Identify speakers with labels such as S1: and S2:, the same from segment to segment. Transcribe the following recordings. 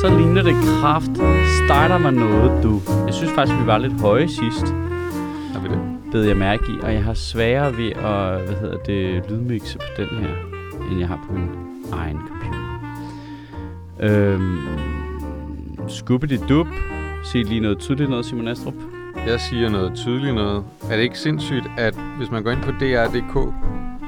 S1: så ligner det kraft. Starter man noget, du. Jeg synes faktisk, vi var lidt høje sidst,
S2: Er vi det?
S1: bed jeg mærke i. Og jeg har sværere ved at, hvad hedder det, lydmixe på den her, end jeg har på min egen computer. Øhm, Skubbidi-dub. Se lige noget tydeligt noget, Simon Astrup.
S2: Jeg siger noget tydeligt noget. Er det ikke sindssygt, at hvis man går ind på dr.dk,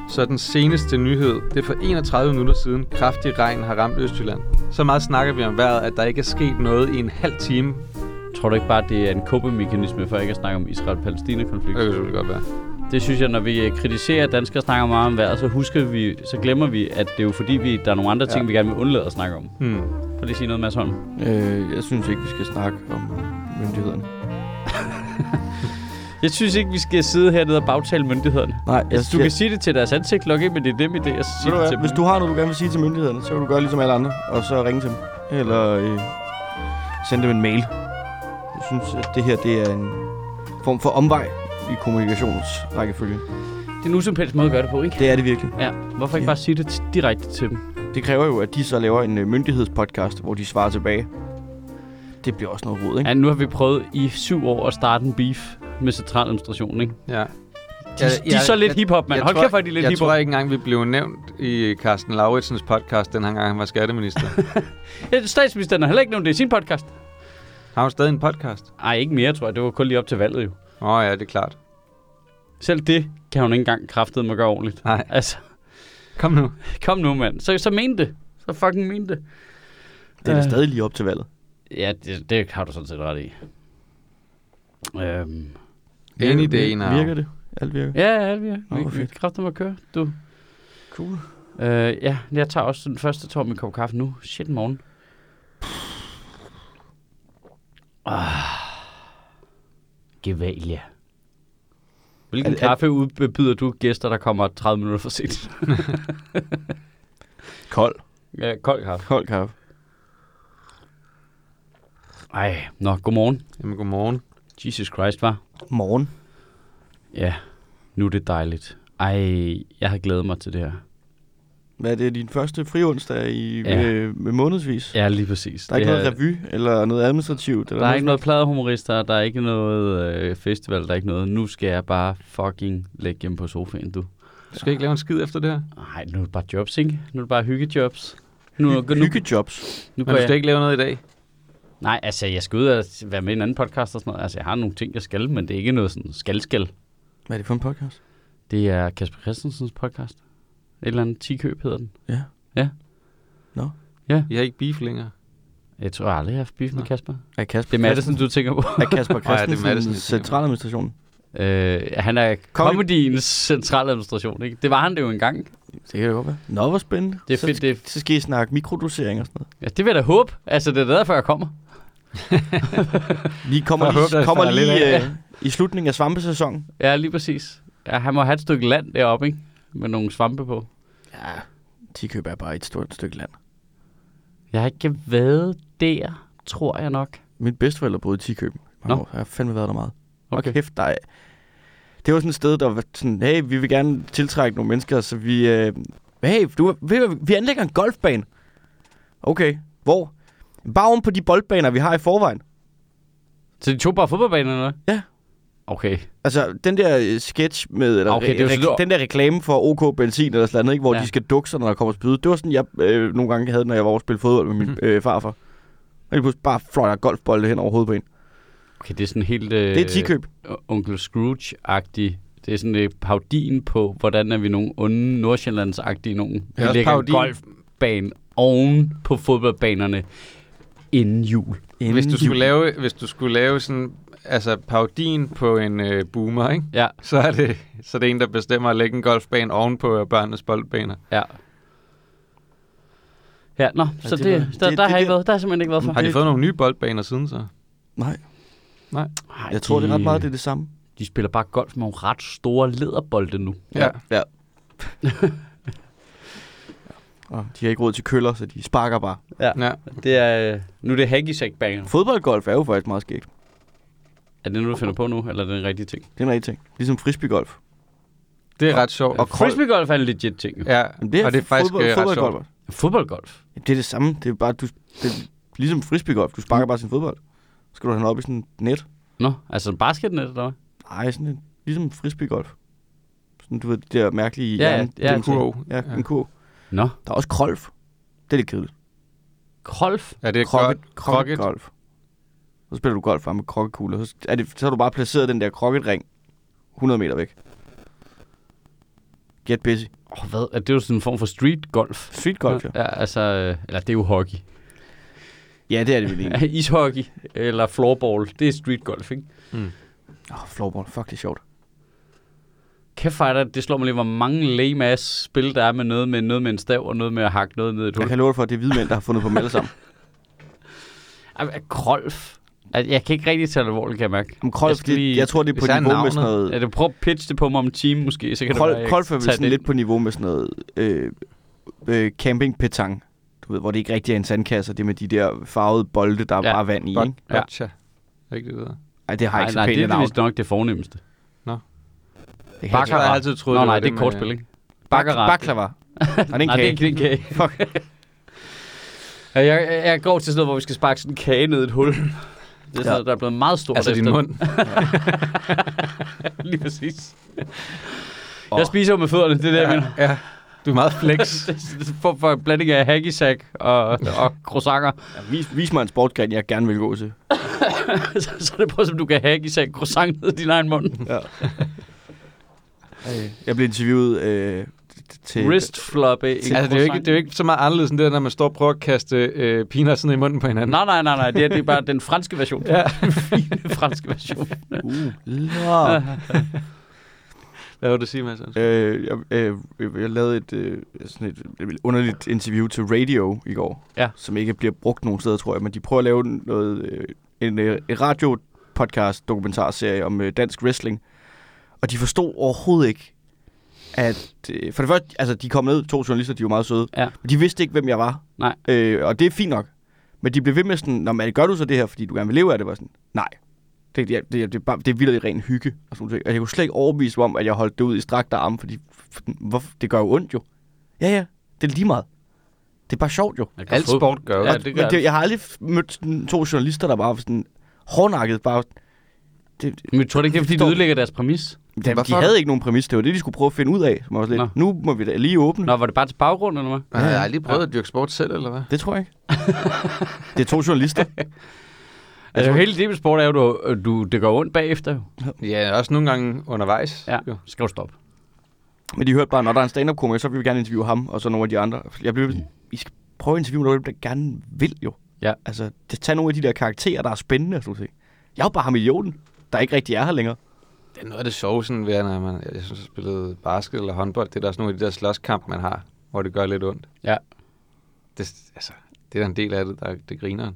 S2: så er den seneste nyhed, det er for 31 minutter siden, kraftig regn har ramt Østjylland. Så meget snakker vi om vejret, at der ikke er sket noget i en halv time.
S1: Tror du ikke bare, det er en kåbemekanisme for ikke at snakke om
S2: Det
S1: Israel-Palæstina-konflikten?
S2: kan selvfølgelig godt være.
S1: Det synes jeg, når vi øh, kritiserer at danskere snakker meget om vejret, så husker vi, så glemmer vi, at det er jo fordi, vi, der er nogle andre ting, ja.
S2: Ja.
S1: vi gerne vil undlade at snakke om.
S2: Hmm.
S1: Prøv lige at sige noget, Mads Holm.
S3: Øh, jeg synes ikke, vi skal snakke om myndighederne.
S1: Jeg synes ikke, vi skal sidde hernede og bagtale myndighederne.
S3: Nej, jeg,
S1: Altså, du
S3: jeg,
S1: kan sige det til deres ansigt, luk ind med det dem i det, og så
S3: ved
S1: sige det
S3: du hvad,
S1: til
S3: hvis
S1: dem.
S3: du har noget, du gerne vil sige til myndighederne, så kan du gøre ligesom alle andre, og så ringe til dem. Eller øh, sende dem en mail. Jeg synes, at det her det er en form for omvej i kommunikationsrækkefølge.
S1: Det er en usympetisk måde at gøre det på, ikke?
S3: Det er det virkelig.
S1: Ja, hvorfor ikke
S3: Ja.
S1: bare sige det t- direkte til dem?
S3: Det kræver jo, at de så laver en øh, myndighedspodcast, hvor de svarer tilbage. Det bliver også noget rod, ikke?
S1: Ja, nu har vi prøvet i syv år at starte en beef med centraladministrationen, ikke?
S2: Ja.
S1: De, ja, de er så lidt hiphop, mand.
S2: jeg
S1: Hold
S2: tror-
S1: kæft, hvor er de lidt
S2: Jeg tror
S1: hiphop.
S2: ikke engang, vi blev nævnt i Carsten Lauritsens podcast, den her gang han var skatteminister.
S1: Ja, Øh, Statsministeren har heller ikke nævnt det i sin podcast.
S2: har hun stadig en podcast?
S1: Nej, ikke mere, tror jeg. Det var kun lige op til valget, jo.
S2: Åh oh, ja, det er klart.
S1: Selv det kan hun ikke engang kraftede mig gøre ordentligt.
S2: Nej,
S1: Altså,
S2: kom nu.
S1: kom nu, mand. Så, så men det. Så fucking men det.
S3: Det er da
S1: Øh.
S3: stadig lige op til valget.
S1: Ja, det, det har du sådan set ret i. Øhm.
S2: Any
S3: Virker-
S2: day now.
S3: Virker det? Alt virker.
S1: Ja, ja, vi er.
S3: Nå,
S1: Vi,
S3: hvor
S1: vi
S3: fedt.
S1: kræfter mig at køre. Du.
S3: Cool.
S1: Øh, ja, jeg tager også den første tår med en kop kaffe nu. Shit, morgen. Ah. Gevalia. Hvilken
S3: Er- er-
S1: kaffe udbyder du gæster, der kommer 30 minutter for sent?
S3: Kold.
S1: ja, kold kaffe.
S3: Kold kaffe.
S1: Ej, nå, godmorgen.
S2: Jamen, godmorgen.
S1: Jesus Christ, var.
S3: Morgen.
S1: Ja, nu er det dejligt. Ej, jeg har glædet mig til det her.
S3: Hvad er det, din første frionsdag i
S1: Ja.
S3: ja. øh, med månedsvis? Ja.
S1: Ja, lige præcis.
S3: Der er ikke
S1: det
S3: noget revy eller noget administrativt? Eller
S1: Der er ikke noget pladehumorister, der er ikke noget øh, festival, der er ikke noget. Nu skal jeg bare fucking lægge hjemme på sofaen, du.
S2: Du skal ikke lave en skid efter det her.
S1: Nej, nu er det bare jobs, ikke? Nu er det bare hyggejobs. Nu, nu, nu,
S3: Hyggejobs.
S1: nu
S2: Men
S1: går
S2: du skal
S1: jeg.
S2: ikke lave noget i dag.
S1: Nej, altså, jeg skal ud og s- være med i en anden podcast og sådan noget. Altså, jeg har nogle ting, jeg skal, men det er ikke noget sådan skal-skal.
S3: Hvad er det for en podcast?
S1: Det er Kasper Christensens podcast. Et eller andet tikøb hedder den.
S3: Ja.
S2: I har ikke beef længere.
S1: Jeg tror jeg aldrig, jeg har haft beef med
S2: Nå.
S1: Kasper.
S3: Er Kasper
S1: Det er Madison, du tænker på.
S3: Er Kasper
S2: Nå ja, det er
S3: Christensen
S2: Madsen,
S3: Madison,
S2: jeg tænker på.
S3: centraladministration?
S1: Øh, han er comediens centraladministration, ikke? Det var han det jo engang.
S3: Det kan det godt være. Nå, hvor spændende.
S1: Det er
S3: så,
S1: fedt, det er-
S3: Så skal I snakke mikrodosering og sådan noget.
S1: Ja, det vil jeg da håbe. Altså, det er derfor, jeg kommer.
S3: Vi kommer
S2: Jeg
S3: lige,
S2: håber, der
S3: kommer
S2: falder
S3: lige
S2: lidt af.
S3: øh, i slutningen af svampesæsonen.
S1: Ja, lige præcis. Ja, han må have et stykke land deroppe, ikke? Med nogle svampe på.
S3: Ja, Tikøb er bare et stort stykke land.
S1: Jeg har ikke været der, tror jeg nok.
S3: Mine bedsteforældre boede i Tikøb.
S1: Nå.
S3: Nå. Jeg har fandme været der meget. Okay.
S1: Okay.
S3: Og kæft dig. Det var sådan et sted, der var sådan, hey, vi vil gerne tiltrække nogle mennesker, så vi... Øh, hey, du, vi, vi anlægger en golfbane. Okay, hvor? Bare oven på de boldbaner, vi har i forvejen.
S1: Så de tog bare fodboldbanen, eller hvad?
S3: Ja.
S1: Okay.
S3: Altså, den der øh, sketch med, eller
S1: Ah, Okay, det er jo sådan-
S3: den der reklame for OK Benzin eller sådan noget, ikke, hvor
S1: Ja.
S3: ja. de skal dukke sig, når der kommer spyd. Det var sådan, jeg øh, nogle gange havde, når jeg var over at spille fodbold med min
S2: Mhm.
S3: øh, farfar. Og lige pludselig bare fløj der golfbolde hen over hovedet på en.
S1: Okay, det er sådan helt... Øh,
S3: Det er tikøb.
S1: Onkel Scrooge-agtig. Det er sådan øh, paudien på, hvordan er vi nogle onde Nordsjællands-agtige nogen. Vi
S2: er også
S1: lægger en
S2: parodien.
S1: golfbane oven på fodboldbanerne inden jul.
S2: Hvis du
S3: Inden
S2: skulle
S3: jul.
S2: lave, hvis du skulle lave sådan, altså parodien på en øh, boomer, ikke?
S1: Ja,
S2: Så er det, så er det en, der bestemmer at lægge en golfbane ovenpå øh, børnenes boldbaner.
S1: ja. Ja, nå, så det,
S3: det
S1: det,
S3: var-
S1: der,
S3: det-
S1: der,
S3: det-
S1: har jeg
S3: det-
S1: ikke været, der har jeg simpelthen ikke været for.
S2: Har de
S3: Det-
S2: fået nogle nye boldbaner siden så?
S3: Nej,
S1: Ej,
S3: jeg tror, det er ret meget, det er det samme.
S1: De spiller bare golf med nogle ret store lederbolde nu.
S2: Ja.
S3: ja. Og de har ikke råd til køller, så de sparker bare.
S2: Ja.
S1: Det er, nu er det hacky banger
S3: Fodboldgolf er jo faktisk meget skægt.
S1: Er det nu, du finder på nu, eller er det en rigtig ting?
S3: Det er en rigtig ting. Ligesom frisbeegolf.
S2: Det er ret sjovt.
S3: Og krøl.
S1: Frisbeegolf er en legit ting. jo.
S2: Ja,
S3: Men det er,
S2: og det er faktisk
S3: fodbold,
S2: øh, ret sjovt.
S3: fodboldgolf.
S1: Fodboldgolf?
S3: Jamen, Det er det samme. Det er bare, du, det, Ligesom frisbeegolf. Du sparker bare sin fodbold. Så skal du have den op i sådan et net.
S1: Nå, altså en basketnet, eller hvad?
S3: Nej, sådan en, ligesom frisbeegolf. Sådan, du ved, det der mærkelige
S1: Ja,
S3: jern-
S1: ja,
S3: den kurv.
S2: kurv.
S3: Ja,
S2: Ja.
S3: en kurv.
S1: Nå,
S3: Der er også krolf. Det er lidt kedeligt.
S1: Krolf?
S2: Er det godt?
S3: Krokket, krokket golf. Så spiller du golf bare med krokkekugler. Så, er det, så har du bare placeret den der krokketring 100 meter væk. Get busy.
S1: Åh, hvad? Er det jo sådan en form for street golf?
S3: Street golf, ja.
S1: ja. altså, øh, eller det er jo hockey.
S3: Ja, det er det vel egentlig.
S1: Ishockey eller floorball, det er street golf, ikke?
S2: Mm.
S3: Åh, oh, floorball. Fuck, det er sjovt.
S1: Kæft, fighter, det slår mig lige, hvor mange lame ass spil, der er med noget med, noget med en stav, og noget med at hakke noget ned i et hul.
S3: Jeg kan love dig for, at det er hvide mænd, der har fundet på dem alle sammen.
S1: Okay. Krolf. Altså, jeg kan ikke rigtig tage det alvorligt, kan jeg mærke.
S3: Men
S1: Jeg
S3: krolf,
S1: skal
S3: jeg,
S1: lige-
S3: det, jeg tror, det er
S2: Hvis
S3: på
S2: jeg har
S3: niveau med sådan
S2: navnet-
S3: noget...
S1: Ja, du prøver at pitche det på mig om en time måske, så kan det være,
S3: Krol,
S1: jeg
S3: Kolf er vel
S1: tager
S3: sådan
S1: den.
S3: lidt på niveau med sådan noget øh, øh, camping petang. Du ved, hvor det ikke rigtig er en sandkasse, og det er med de der farvede bolde, der ja.
S1: Ja.
S3: er bare vand i. Ikke?
S1: Ja.
S2: Boccia. Er det ikke det, det hedder?
S3: Ej, det har
S1: Nej,
S3: ikke så
S1: nej,
S3: pænt
S1: det
S3: et
S1: er
S3: navn.
S1: vist nok det fornemmeste.
S3: Det kan jeg
S1: Baccarat.
S2: Jeg har altid troet,
S1: Nå,
S2: det var
S1: nej,
S2: øh,
S1: det er
S2: med-
S1: kortspil, ikke?
S3: ikke- Bak-
S1: Baccarat.
S3: Baklava. Og det er en
S1: Nej, det er
S3: kage.
S1: ikke en kage.
S3: Fuck.
S1: Ja, Jeg, jeg går til sådan noget, hvor vi skal sparke sådan en kage ned i et hul. Det er sådan
S3: Ja.
S1: noget, der er blevet meget stort
S2: Altså din
S1: efter.
S2: mund.
S1: Lige præcis.
S3: Åh.
S1: Jeg spiser jo med fødderne, det er det, jeg mener.
S2: Ja, du er meget flex.
S1: for, for en blanding af hacky sack og, og croissanter.
S3: Ja, vis, vis mig en sportsgren, jeg gerne vil gå til.
S1: så, så er det på, som du kan hacky sack croissant ned i din egen mund.
S3: Jeg blev interviewet øh, t- til...
S1: Wrist eh, floppy.
S2: Altså, det er, jo ikke, det er jo ikke så meget anderledes end det, der, når man står og prøver at kaste øh, piner sådan i munden på hinanden.
S1: Nej, nej, nej, nej. Det er, det er bare den franske version.
S2: Ja.
S1: Den fine franske version.
S3: Uh, lord.
S2: Hvad vil du sige, Mads? Undskyld.
S3: øh, jeg, øh, jeg lavede et, øh, sådan et underligt interview til radio i går,
S1: Ja.
S3: som ikke bliver brugt nogen steder, tror jeg, men de prøver at lave noget, øh, en øh, radio podcast dokumentarserie om øh, dansk wrestling, og de forstod overhovedet ikke, at øh, for det første, altså de kom ned, to journalister, de var meget søde,
S1: Ja.
S3: men de vidste ikke, hvem jeg var,
S1: Nej.
S3: Øh, og det er fint nok, men de blev ved med sådan, Nå, men gør du så det her, fordi du gerne vil leve af det, var sådan, nej, det, det, det, det, er bare, det er vildt ren hygge. Og sådan nogle ting. Og jeg kunne slet ikke overbevise mig om, at jeg holdt det ud i strakte arme, fordi f- hvor, det gør jo ondt jo. Ja, ja, det er lige meget. Det er bare sjovt jo.
S2: Alt sport gør jo.
S1: Ja,
S2: det.
S1: det gør
S3: Men det,
S1: det.
S3: jeg har aldrig f- mødt sådan, to journalister, der bare var sådan hårdnakket. Bare, det,
S1: Men tror du ikke, det er, fordi det ødelægger deres præmis?
S3: de, de
S2: Hvorfor?
S3: havde ikke nogen præmis. Det var det, de skulle prøve at finde ud af. Som jeg var sådan lidt, nu må vi da lige åbne.
S1: Nå, var det bare til baggrund, eller hvad?
S2: Jeg har aldrig prøvet at dyrke sport selv, eller hvad?
S3: Det tror jeg ikke. det er to journalister.
S1: Altså, hele det med sport er jo, du, du, det går ondt bagefter. jo.
S2: Ja, også nogle gange undervejs.
S1: Ja,
S2: Jo.
S1: så skal du stoppe.
S3: Men de hørte bare, når der er en stand-up komiker, så vil vi gerne interviewe ham, og så nogle af de andre. Jeg blev, I skal prøve at interviewe nogen, der gerne vil jo.
S1: Ja.
S3: Altså, det, tag nogle af de der karakterer, der er spændende og sådan noget. Jeg er jo bare ham idioten, der ikke rigtig er her længere.
S2: Det er noget af det sjove, sådan ved, at når man, jeg synes, jeg spillede basket eller håndbold, det er der også nogle af de der slåskamp, man har, hvor det gør lidt ondt.
S1: Ja.
S2: Det, altså, det er da en del af det, der det griner. En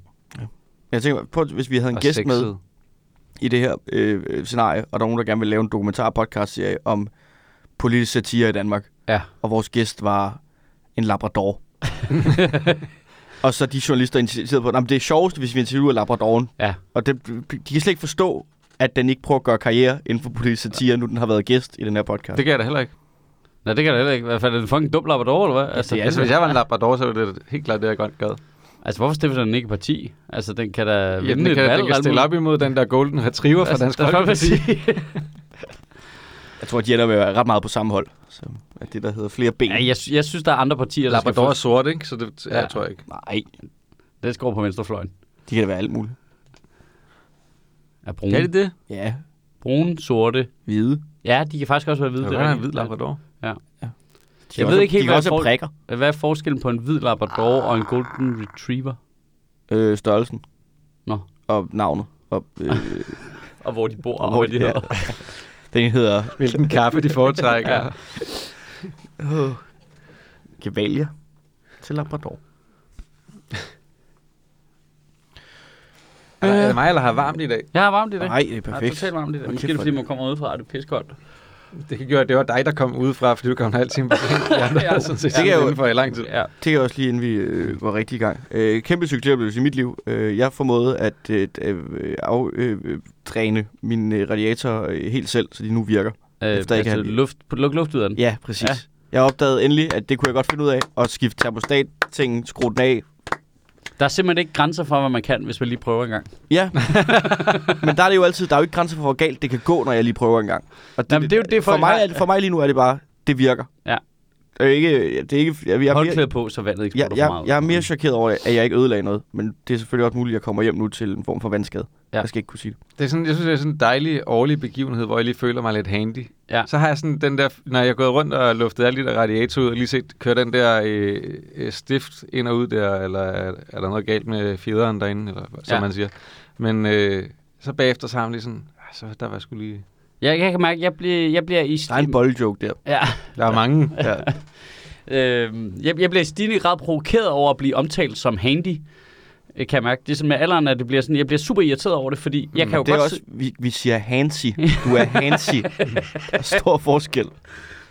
S3: Jeg tænker, på, hvis vi havde en
S2: og
S3: gæst
S2: sexet.
S3: med i det her øh, øh, scenarie, og der er nogen, der gerne vil lave en dokumentar podcast serie om politisk satire i Danmark,
S1: Ja.
S3: og vores gæst var en labrador. og så de journalister insisterede på, at det er sjovest, hvis vi interviewer labradoren,
S1: Ja.
S3: Og det, de kan slet ikke forstå, at den ikke prøver at gøre karriere inden for politisk satire, nu den har været gæst i den her podcast.
S2: Det
S3: Det,
S2: kan jeg da heller ikke.
S1: Nej, det kan da heller ikke. Hvad fanden er det en fucking dum labrador, eller hvad? Altså,
S3: det er
S1: altså,
S2: Altså, hvis jeg var en labrador, så ville det helt klart det, jeg godt gad.
S1: altså, hvorfor stifter den ikke parti? Altså, den kan da
S2: Ja,
S1: et
S2: den, kan,
S1: valg
S2: den kan
S1: og alt Altså,
S2: stille op imod den der golden retriever fra
S1: muligt.
S2: Dansk
S1: Der er
S2: Folkeparti.
S1: Folkeparti.
S3: jeg tror, at de ender med at være ret meget på samme hold. Så at det, der hedder flere ben.
S1: ja, jeg, sy- jeg synes, der er andre partier, der
S2: Labrador er
S1: skal,
S2: sort, ikke? Så det ja.
S1: Ja.
S2: jeg tror jeg ikke.
S3: Nej,
S1: få, den skal over på venstrefløjen.
S3: de kan da være alt muligt.
S1: Er brune.
S2: Kan det det?
S3: Ja,
S1: Brune, sorte.
S3: hvide.
S1: Ja, de kan faktisk også være hvide.
S2: Det
S1: det
S2: er en
S1: rigtigt.
S2: hvid labrador.
S3: De
S1: Jeg ved
S3: kan også-
S1: ikke helt,
S3: de
S1: hvad
S3: kan også have
S1: folk-
S3: prikker.
S1: Hvad er forskellen på en hvid labrador og en golden retriever?
S3: Øh, størrelsen.
S1: Nå.
S3: Og navnet. Og, øh,
S1: Og hvor de bor, og
S3: hvor
S1: hvor
S3: de
S1: de
S3: hedder.
S1: hedder.
S3: den hedder...
S2: Hvilken kaffe de foretrækker.
S1: Ja.
S2: ja.
S3: Øh, Gevalia til Labrador.
S2: Er, er det mig, eller har varmt i dag?
S1: Jeg har varmt i dag.
S3: Nej, det er
S1: Jeg er
S3: perfekt.
S1: totalt varmt i dag.
S3: Hvor
S1: Måske er
S3: kæft,
S1: det,
S3: hvor
S1: fordi man kommer udefra, og det er pissekoldt.
S2: Det kan gøre, at det var dig, der kom udefra, fordi du kom en halv time på sent. Jeg
S1: Ja.
S2: har sådan set
S3: Det kan
S2: det
S3: jo-
S2: indenfor i lang tid.
S1: Ja.
S3: Det er også lige, inden vi øh, var rigtig i gang. Øh, kæmpe succesoplevelse i mit liv. Øh, jeg formåede at øh, øh, af, øh, dræne min øh, radiator øh, helt selv, så de nu virker.
S1: Øh,
S3: Efter ikke
S1: altså,
S3: at-
S1: luft, luk luft ud af den.
S3: Ja, præcis.
S1: Ja.
S3: Ja. Jeg opdagede endelig, at det kunne jeg godt finde ud af. At skifte termostat-tingen, skrue den af,
S1: Der er simpelthen ikke grænser for, hvad man kan, hvis man lige prøver en gang. Det,
S3: Ja. Men der er det jo altid, der er jo ikke grænser for, hvor galt det kan gå, når jeg lige prøver en gang. Og
S1: Jamen, det er jo det,
S3: for,
S1: folk
S3: mig,
S1: har-
S3: er det, for mig lige nu er det bare, det virker.
S1: Ja.
S3: Det er jo ikke, det er ikke, jeg, jeg, jeg,
S1: Håndklæde på, så vandet ikke
S3: jeg,
S1: sprutter for
S3: jeg,
S1: meget.
S3: jeg er mere chokeret over, at jeg ikke ødelagde noget. Men det er selvfølgelig også muligt, at jeg kommer hjem nu til en form for vandskade.
S1: Ja.
S3: Ja. Jeg skal ikke kunne sige det.
S2: Det er sådan, jeg synes, det er sådan en dejlig årlig begivenhed, hvor jeg lige føler mig lidt handy.
S1: Ja.
S2: Så har jeg sådan den der, når jeg er gået rundt og luftet alle de der radiatorer ud, og lige set, kører den der øh, øh, stift ind og ud der, eller er, er der noget galt med fjederen derinde, eller, som
S1: Ja.
S2: man siger. Men øh, så bagefter, så har man lige sådan, "Ah, så der var sgu lige...
S1: Jeg, jeg kan mærke, jeg bliver, jeg bliver i...
S3: Der er en boldjoke der.
S1: Ja,
S2: Der er mange.
S3: Ja.
S1: øh, jeg, jeg bliver i stigende grad provokeret over at blive omtalt som handy. øh, Kan jeg mærke. Det er sådan med alderen, at det bliver sådan, jeg bliver super irriteret over det, fordi jeg kan jo
S3: det er
S1: godt...
S3: også,
S1: se-
S3: vi, vi siger handsy. Du er handsy. der er stor forskel.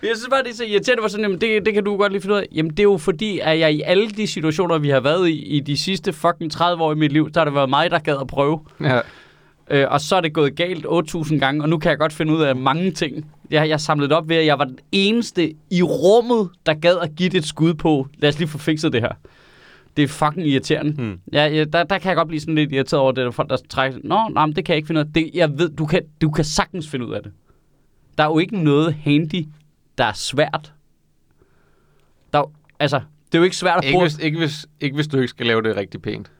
S1: Jeg synes bare, det er så irriterende, hvor sådan, jamen, det, det kan du godt lige finde ud af. Jamen, det er jo fordi, at jeg i alle de situationer, vi har været i, i de sidste fucking 30 år i mit liv, så har det været mig, der gad at prøve.
S2: Ja.
S1: Øh, og så er det gået galt 8.000 gange, og nu kan jeg godt finde ud af mange ting. Jeg, jeg samlede det op ved, at jeg var den eneste i rummet, der gad at give det et skud på. Lad os lige få fikset det her. Det er fucking irriterende.
S2: Hmm.
S1: Ja, ja der, der kan jeg godt blive sådan lidt irriteret over det, der folk, der trækker. Nå, nej, men det kan jeg ikke finde ud af. Det, jeg ved, du kan, du kan sagtens finde ud af det. Der er jo ikke noget handy, der er svært. Der er, jo- altså, det er jo ikke svært at
S2: Ikke,
S1: bruge...
S2: hvis, ikke, hvis, ikke hvis du ikke skal lave det rigtig pænt.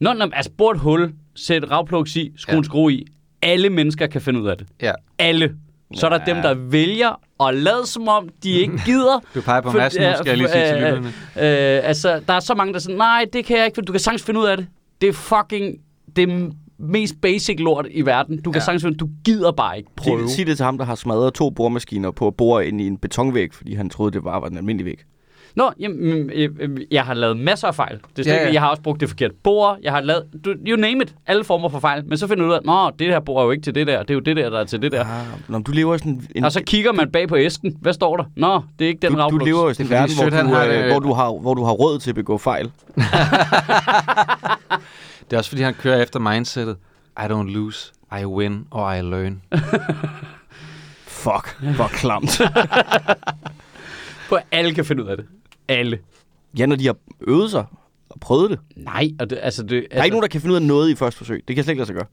S1: Nå, nå, altså, bor et hul, sæt ravplugs i, skru en
S2: Ja.
S1: skrue i. Alle mennesker kan finde ud af det.
S2: Ja.
S1: alle. Så er der
S3: Ja.
S1: dem, der vælger at lade som om, de ikke gider.
S2: Du peger på
S1: For-
S2: massen, nu
S1: ja,
S2: skal jeg lige sige til
S1: for- øh,
S2: lytterne.
S1: øh, altså, der er så mange, der siger, nej, det kan jeg ikke, for du kan sagtens finde ud af det. Det er fucking det m- mest basic lort i verden. Du kan ja.
S2: Ja.
S1: sagtens finde du gider bare ikke prøve.
S3: Sig, sig det til ham, der har smadret to boremaskiner på at bore ind i en betonvæg, fordi han troede, det bare var en almindelig væg.
S1: Nå, jamen, mm, øh, øh, jeg har lavet masser af fejl. Det er slet
S2: Ja,
S1: ikke,
S2: ja.
S1: Jeg har også brugt det forkerte bord. Jeg har lavet, du, you name it, alle former for fejl. Men så finder du ud af, nå, det her bord er jo ikke til det der. Det er jo det der, der er til det der.
S3: Ah, når du lever i sådan en...
S1: Og så kigger man bag på æsken. Hvad står der? Nå, det er ikke den
S3: du, du
S1: ravbluks.
S3: lever i sådan en
S2: Det er fordi
S3: verden, hvor
S2: Sødt, han
S3: du,
S2: har
S3: øh,
S2: det-
S3: hvor, du har, hvor du har råd til at begå fejl.
S2: Det er også fordi, han kører efter mindsetet. I don't lose, I win, or I learn.
S3: Fuck, hvor klamt.
S1: For alle kan finde ud af det. Alle.
S3: ja, når de har øvet sig og prøvet det. Der
S1: Nej, og det, altså det... Der
S3: er ikke nogen, der kan finde ud af noget i første forsøg. Det kan slet ikke lade sig gøre.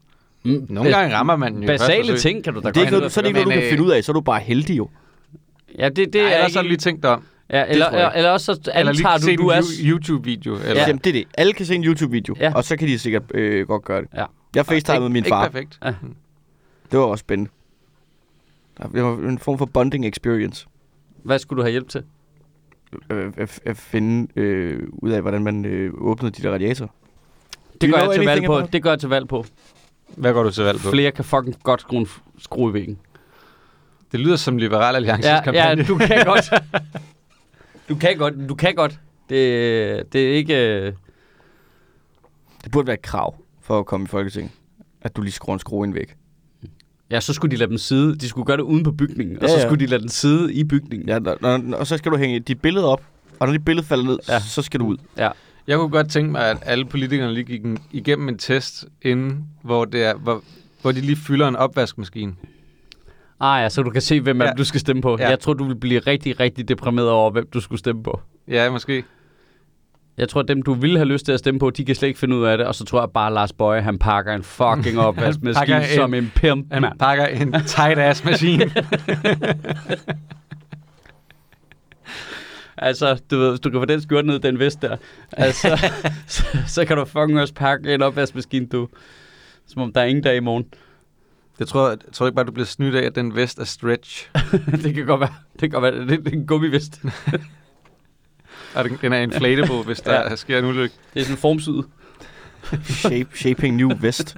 S1: nogen,
S2: Nogle gange rammer man den jo i første
S1: Basale
S2: forsøg.
S1: ting kan du da
S3: Det er
S1: godt
S3: ikke noget, du,
S1: finde
S3: så er det ikke
S2: Men,
S3: noget, du
S2: øh,
S3: kan finde ud af. Så er du bare heldig jo.
S1: ud af. Ja, det, det
S2: Det er
S1: er
S2: Ellers har du
S1: ikke...
S2: lige tænkt dig om.
S1: ja, eller,
S2: tror jeg
S1: eller,
S2: ikke.
S1: eller også så
S2: Eller
S1: antager
S2: lige
S1: du,
S2: du,
S1: du
S2: en
S1: er...
S2: you- YouTube-video. Eller...
S3: Ja.
S2: Ja.
S3: Jamen, det er det. Alle kan se en YouTube-video,
S1: Ja.
S3: ja. og så kan de sikkert øh, godt gøre det.
S1: Ja.
S3: Jeg facetimede min far.
S2: Ikke perfekt.
S1: Ja.
S3: Det var også spændende. Der- Det var en form for bonding experience.
S1: Hvad skulle du have hjælp til?
S3: Øh, At, at finde øh, ud af, hvordan man øh, åbnede de der radiatorer.
S1: Det
S3: you
S1: gør,
S3: know
S1: jeg til valg
S3: anything
S1: på.
S3: about-
S1: det gør jeg til valg på.
S2: Hvad går du til valg på?
S1: Flere kan fucking godt skrue en f- skrue i væggen.
S2: Det lyder som Liberal Alliances
S1: Ja, ja,
S2: kampagne.
S1: du kan godt. Du kan godt. Du kan godt. Det, det er ikke... øh,
S3: Det burde være et krav for at komme i Folketinget. At du lige skruer en skrue ind væk.
S1: Ja, så skulle de lade dem sidde. De skulle gøre det uden på bygningen, og
S3: Ja,
S1: så
S3: ja.
S1: skulle de lade den sidde i bygningen.
S3: Ja, når, når, når, og så skal du hænge dit billede op. Og når dit billede falder ned,
S1: Ja.
S3: ja. så skal du ud.
S2: Jeg kunne godt tænke mig, at alle politikerne lige gik en, igennem en test inden, hvor, det er, hvor, hvor de lige fylder en opvaskemaskine.
S1: Ah ja, så du kan se, hvem ja.
S2: Ja.
S1: du skal stemme på. Ja.
S2: Ja.
S1: Jeg tror, du vil blive rigtig, rigtig deprimeret over, hvem du skulle stemme på.
S2: Ja, måske.
S1: Jeg tror, dem, du ville have lyst til at stemme på, de kan slet ikke finde ud af det. Og så tror jeg bare, at Lars Bøje, han pakker en fucking
S2: pakker
S1: opvaskemaskine
S2: en-
S1: som en pimp,
S2: Han
S1: mand.
S2: pakker en tight-ass maskine.
S1: Altså, du ved, hvis du kan få den skjort ned, i den vest der, altså, så, så, kan du fucking også pakke en opvaskemaskine, du. Som om der er ingen dag i morgen.
S2: Jeg tror, jeg tror ikke bare, du bliver snydt af, at den vest er stretch.
S1: det kan godt være. Det kan godt være. Det, det er en gummivest.
S2: Og den, den er inflatable, hvis der
S1: Ja.
S2: ja. sker en ulykke.
S1: Det er sådan en formsyd.
S3: Shape, shaping new vest.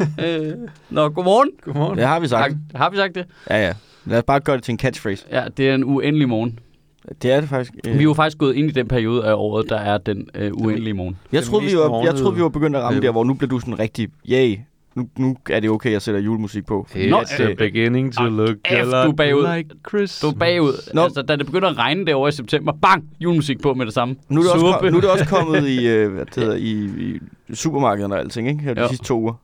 S1: Øh, Nå, godmorgen.
S2: Godmorgen.
S3: Det har vi sagt.
S1: Har, har vi sagt det?
S3: Ja, ja. Lad os bare gøre det til en catchphrase.
S1: Ja, det er en uendelig morgen.
S3: Det er det faktisk.
S1: Vi er jo faktisk gået ind i den periode af året, der er den øh, uendelige morgen.
S3: Jeg
S2: Den
S3: troede, vi
S2: mest
S3: var, jeg
S2: morgenede-
S3: troede, vi var begyndt at ramme
S2: Øh.
S3: der, hvor nu bliver du sådan rigtig, yay, nu, nu er det okay, jeg sætter julemusik på.
S1: Nå,
S2: It's the
S1: øh,
S2: beginning to
S1: ah,
S2: look
S1: F,
S2: a lot
S1: du er bagud.
S2: like Christmas.
S1: Du er bagud.
S3: Nå.
S1: Altså, da det begynder at regne derovre i september, bang, julemusik på med det samme.
S3: Nu er det, også,
S1: Suppe.
S3: kom- nu er det også kommet i, øh, hvad det hedder, i, i supermarkederne og alting, ikke? Her de
S1: Jo.
S3: sidste to uger.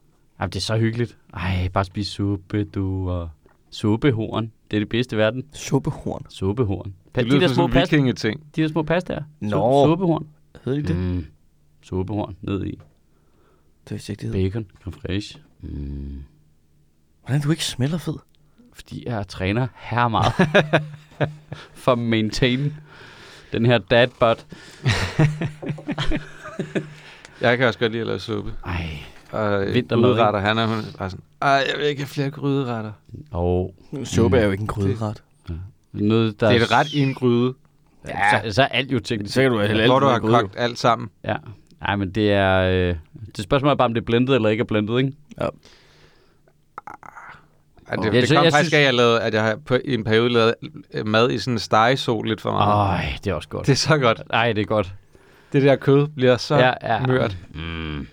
S1: Jamen, det er så hyggeligt. Ej, bare spis suppe, du. Og suppehorn. Det er det bedste i verden.
S3: Suppehorn.
S1: Suppehorn. Pa-
S2: Det
S1: de,
S2: lyder
S1: der
S2: som
S1: små
S2: sådan en
S1: pasta,
S2: vikingeting.
S1: de der små pastaer. Su-
S3: Nå.
S1: Suppehorn.
S3: Hedder de det? Mm.
S1: Mm. Sopehorn ned i.
S3: Det er ikke, det hedder.
S1: Bacon, creme fraiche. Mm.
S3: Hvordan er du ikke smelter fed?
S1: Fordi jeg træner her meget. For at maintain den her dad bod.
S2: Jeg kan også godt lide at lave suppe.
S1: Ej,
S2: Og øh,
S1: Vintermad, ikke?
S2: gryderetter, han er hun er bare sådan, ej, jeg vil ikke have flere gryderetter.
S1: og
S3: Suppe er jo ikke en krydderret.
S1: noget, der...
S2: Det er et ret i en gryde,
S1: Ja, så, så er alt jo teknisk.
S3: Så kan du have
S2: hvor du har kogt alt sammen.
S1: Ja. Nej, men det er... Øh, det spørgsmål er bare, om det er blendet eller ikke er blendet, ikke?
S2: Ej, det,
S1: Okay.
S2: det
S1: Så
S2: kom
S1: jeg
S2: faktisk
S1: synes-
S2: af, at jeg, lavede, at jeg har på, i en periode lavet øh, mad i sådan en stegesol lidt for meget.
S1: Ej, det er også godt.
S2: Det er så godt.
S1: Nej, det er godt.
S2: Det der kød bliver så ja.
S1: ja.
S2: mørt.
S1: Mm.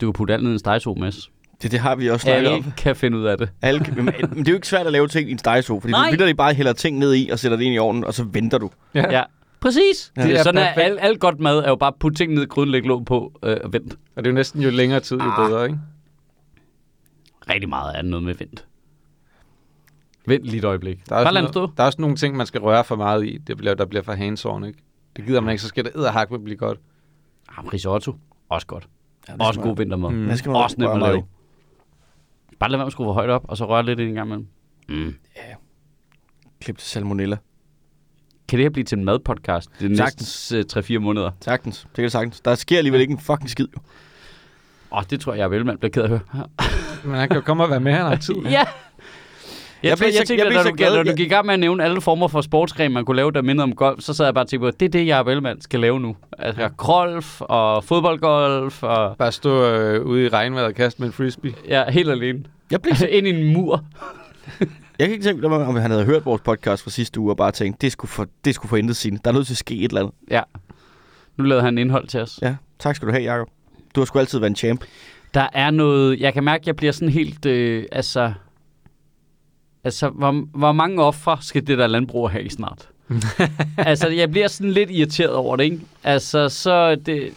S1: Du kan putte alt ned i en stegesol, Mads.
S3: Det, det har vi også snakket om.
S1: Alle kan finde ud af det.
S3: Alle, kan- men, men det er jo ikke svært at lave ting i en stegesov, fordi
S1: Nej.
S3: du vildt bare hælder ting ned i og sætter det ind i ovnen, og så venter du.
S2: Ja.
S1: Ja. Præcis.
S2: Ja.
S1: Ja. Det
S2: Det
S1: er
S2: er
S1: sådan, at
S2: perfekt.
S1: alt, alt godt mad er jo bare at putte ting ned i gryden, lægge låg på øh, og vent.
S2: Og det er jo næsten jo længere tid, jo
S1: Ah.
S2: bedre, ikke?
S1: Rigtig meget er noget med vent. Vent lige et øjeblik.
S2: Der er,
S1: Bare lad den
S2: også
S1: stå.
S2: noget, der er også nogle ting, man skal røre for meget i, det bliver, der bliver for hands-on, ikke? Det gider man ikke, så skal det edderhak med blive godt.
S1: Ah, risotto. Også godt.
S3: Ja,
S1: Også god vintermad.
S2: Mm.
S1: Mm.
S3: Det skal man
S1: Også nemt at
S3: røre
S1: lave. Bare lad være med at skrue for højt op, og så røre lidt ind en gang imellem. Mm.
S3: Klip til salmonella.
S1: Kan det her blive til en madpodcast de
S3: Sagtens.
S1: næste øh, 3-4 måneder?
S3: Sagtens. Det kan det sagtens. Der sker alligevel ikke en fucking skid. jo.
S1: Åh, oh, det tror jeg, jeg vel, man bliver ked af at høre.
S2: Men han kan jo komme og være med, han har tid.
S1: ja! Jeg, jeg,
S3: blev
S1: blev,
S3: så-
S1: jeg tænkte,
S3: jeg
S1: jeg
S3: blev
S1: da,
S3: så
S1: du, glad,
S3: glad,
S1: da du
S3: jeg-
S1: gik i gang med at nævne alle former for sportsgren, man kunne lave, der mindede om golf, så sad jeg bare og tænkte på, det er det, jeg Ellemann skal lave nu. Altså, ja.
S2: Ja.
S1: golf og fodboldgolf og...
S2: Bare stå øh, ude i regnvejret og kaste med en frisbee.
S1: Ja, helt alene.
S3: Jeg, blev,
S1: Altså, ind i en mur.
S3: jeg kan ikke tænke mig, om han havde hørt vores podcast fra sidste uge og bare tænkt, det skulle for, det skulle for intet sine. Der er nødt til at ske et eller andet.
S1: Ja. Nu lavede han indhold til os.
S3: Ja, tak skal du have, Jacob. Du har sgu altid været en champ.
S1: Der er noget... Jeg kan mærke, at jeg bliver sådan helt... Øh, altså... Altså, hvor, hvor mange ofre skal det der landbrug have snart? altså, jeg bliver sådan lidt irriteret over det, ikke? Altså, så det...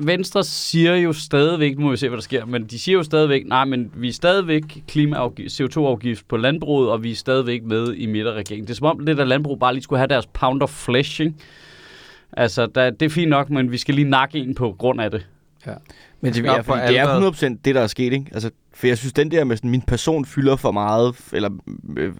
S1: Venstre siger jo stadigvæk, nu må vi se, hvad der sker, men de siger jo stadigvæk, nej, men vi er stadigvæk klimaafgift, CO2-afgift på landbruget, og vi er stadigvæk med i midterregeringen. Det er som om det der landbrug bare lige skulle have deres pound of flesh, ikke? Altså, der, det er fint nok, men vi skal lige nakke en på grund af det.
S3: Men det,
S2: Op
S3: ja,
S2: for
S3: fordi det
S2: alvor.
S3: er 100% det, der er sket, ikke? Altså, for jeg synes, den der med sådan, min person fylder for meget, eller øh,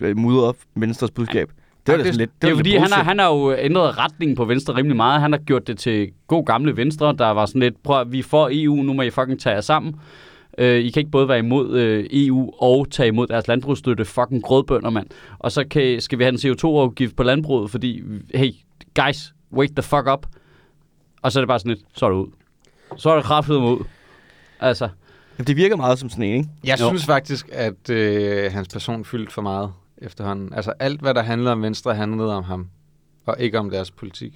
S3: øh, mudrer Venstres budskab, det var
S2: Ej,
S3: da
S2: det-
S3: sådan lidt
S1: Det er jo
S3: var lidt
S1: fordi, han har,
S3: bullshit.
S1: han har jo ændret retningen på Venstre rimelig meget. Han har gjort det til god gamle Venstre, der var sådan lidt, prøv at- vi får EU, nu må I fucking tage jer sammen. Øh, I kan ikke både være imod øh, EU og tage imod deres landbrugsstøtte, fucking grødbønder, mand. Og så kan, skal vi have en CO2-afgift på landbruget, fordi, hey, guys, wake the fuck up. Og så er det bare sådan lidt, så er det ud. Så er det kraftedet ud. Altså,
S3: Jamen, det virker meget som sådan en, ikke?
S2: Jeg
S1: Jo.
S2: jo. synes faktisk, at øh, hans person fyldte for meget efterhånden. Altså alt, hvad der handlede om Venstre, handlede om ham. Og ikke om deres politik.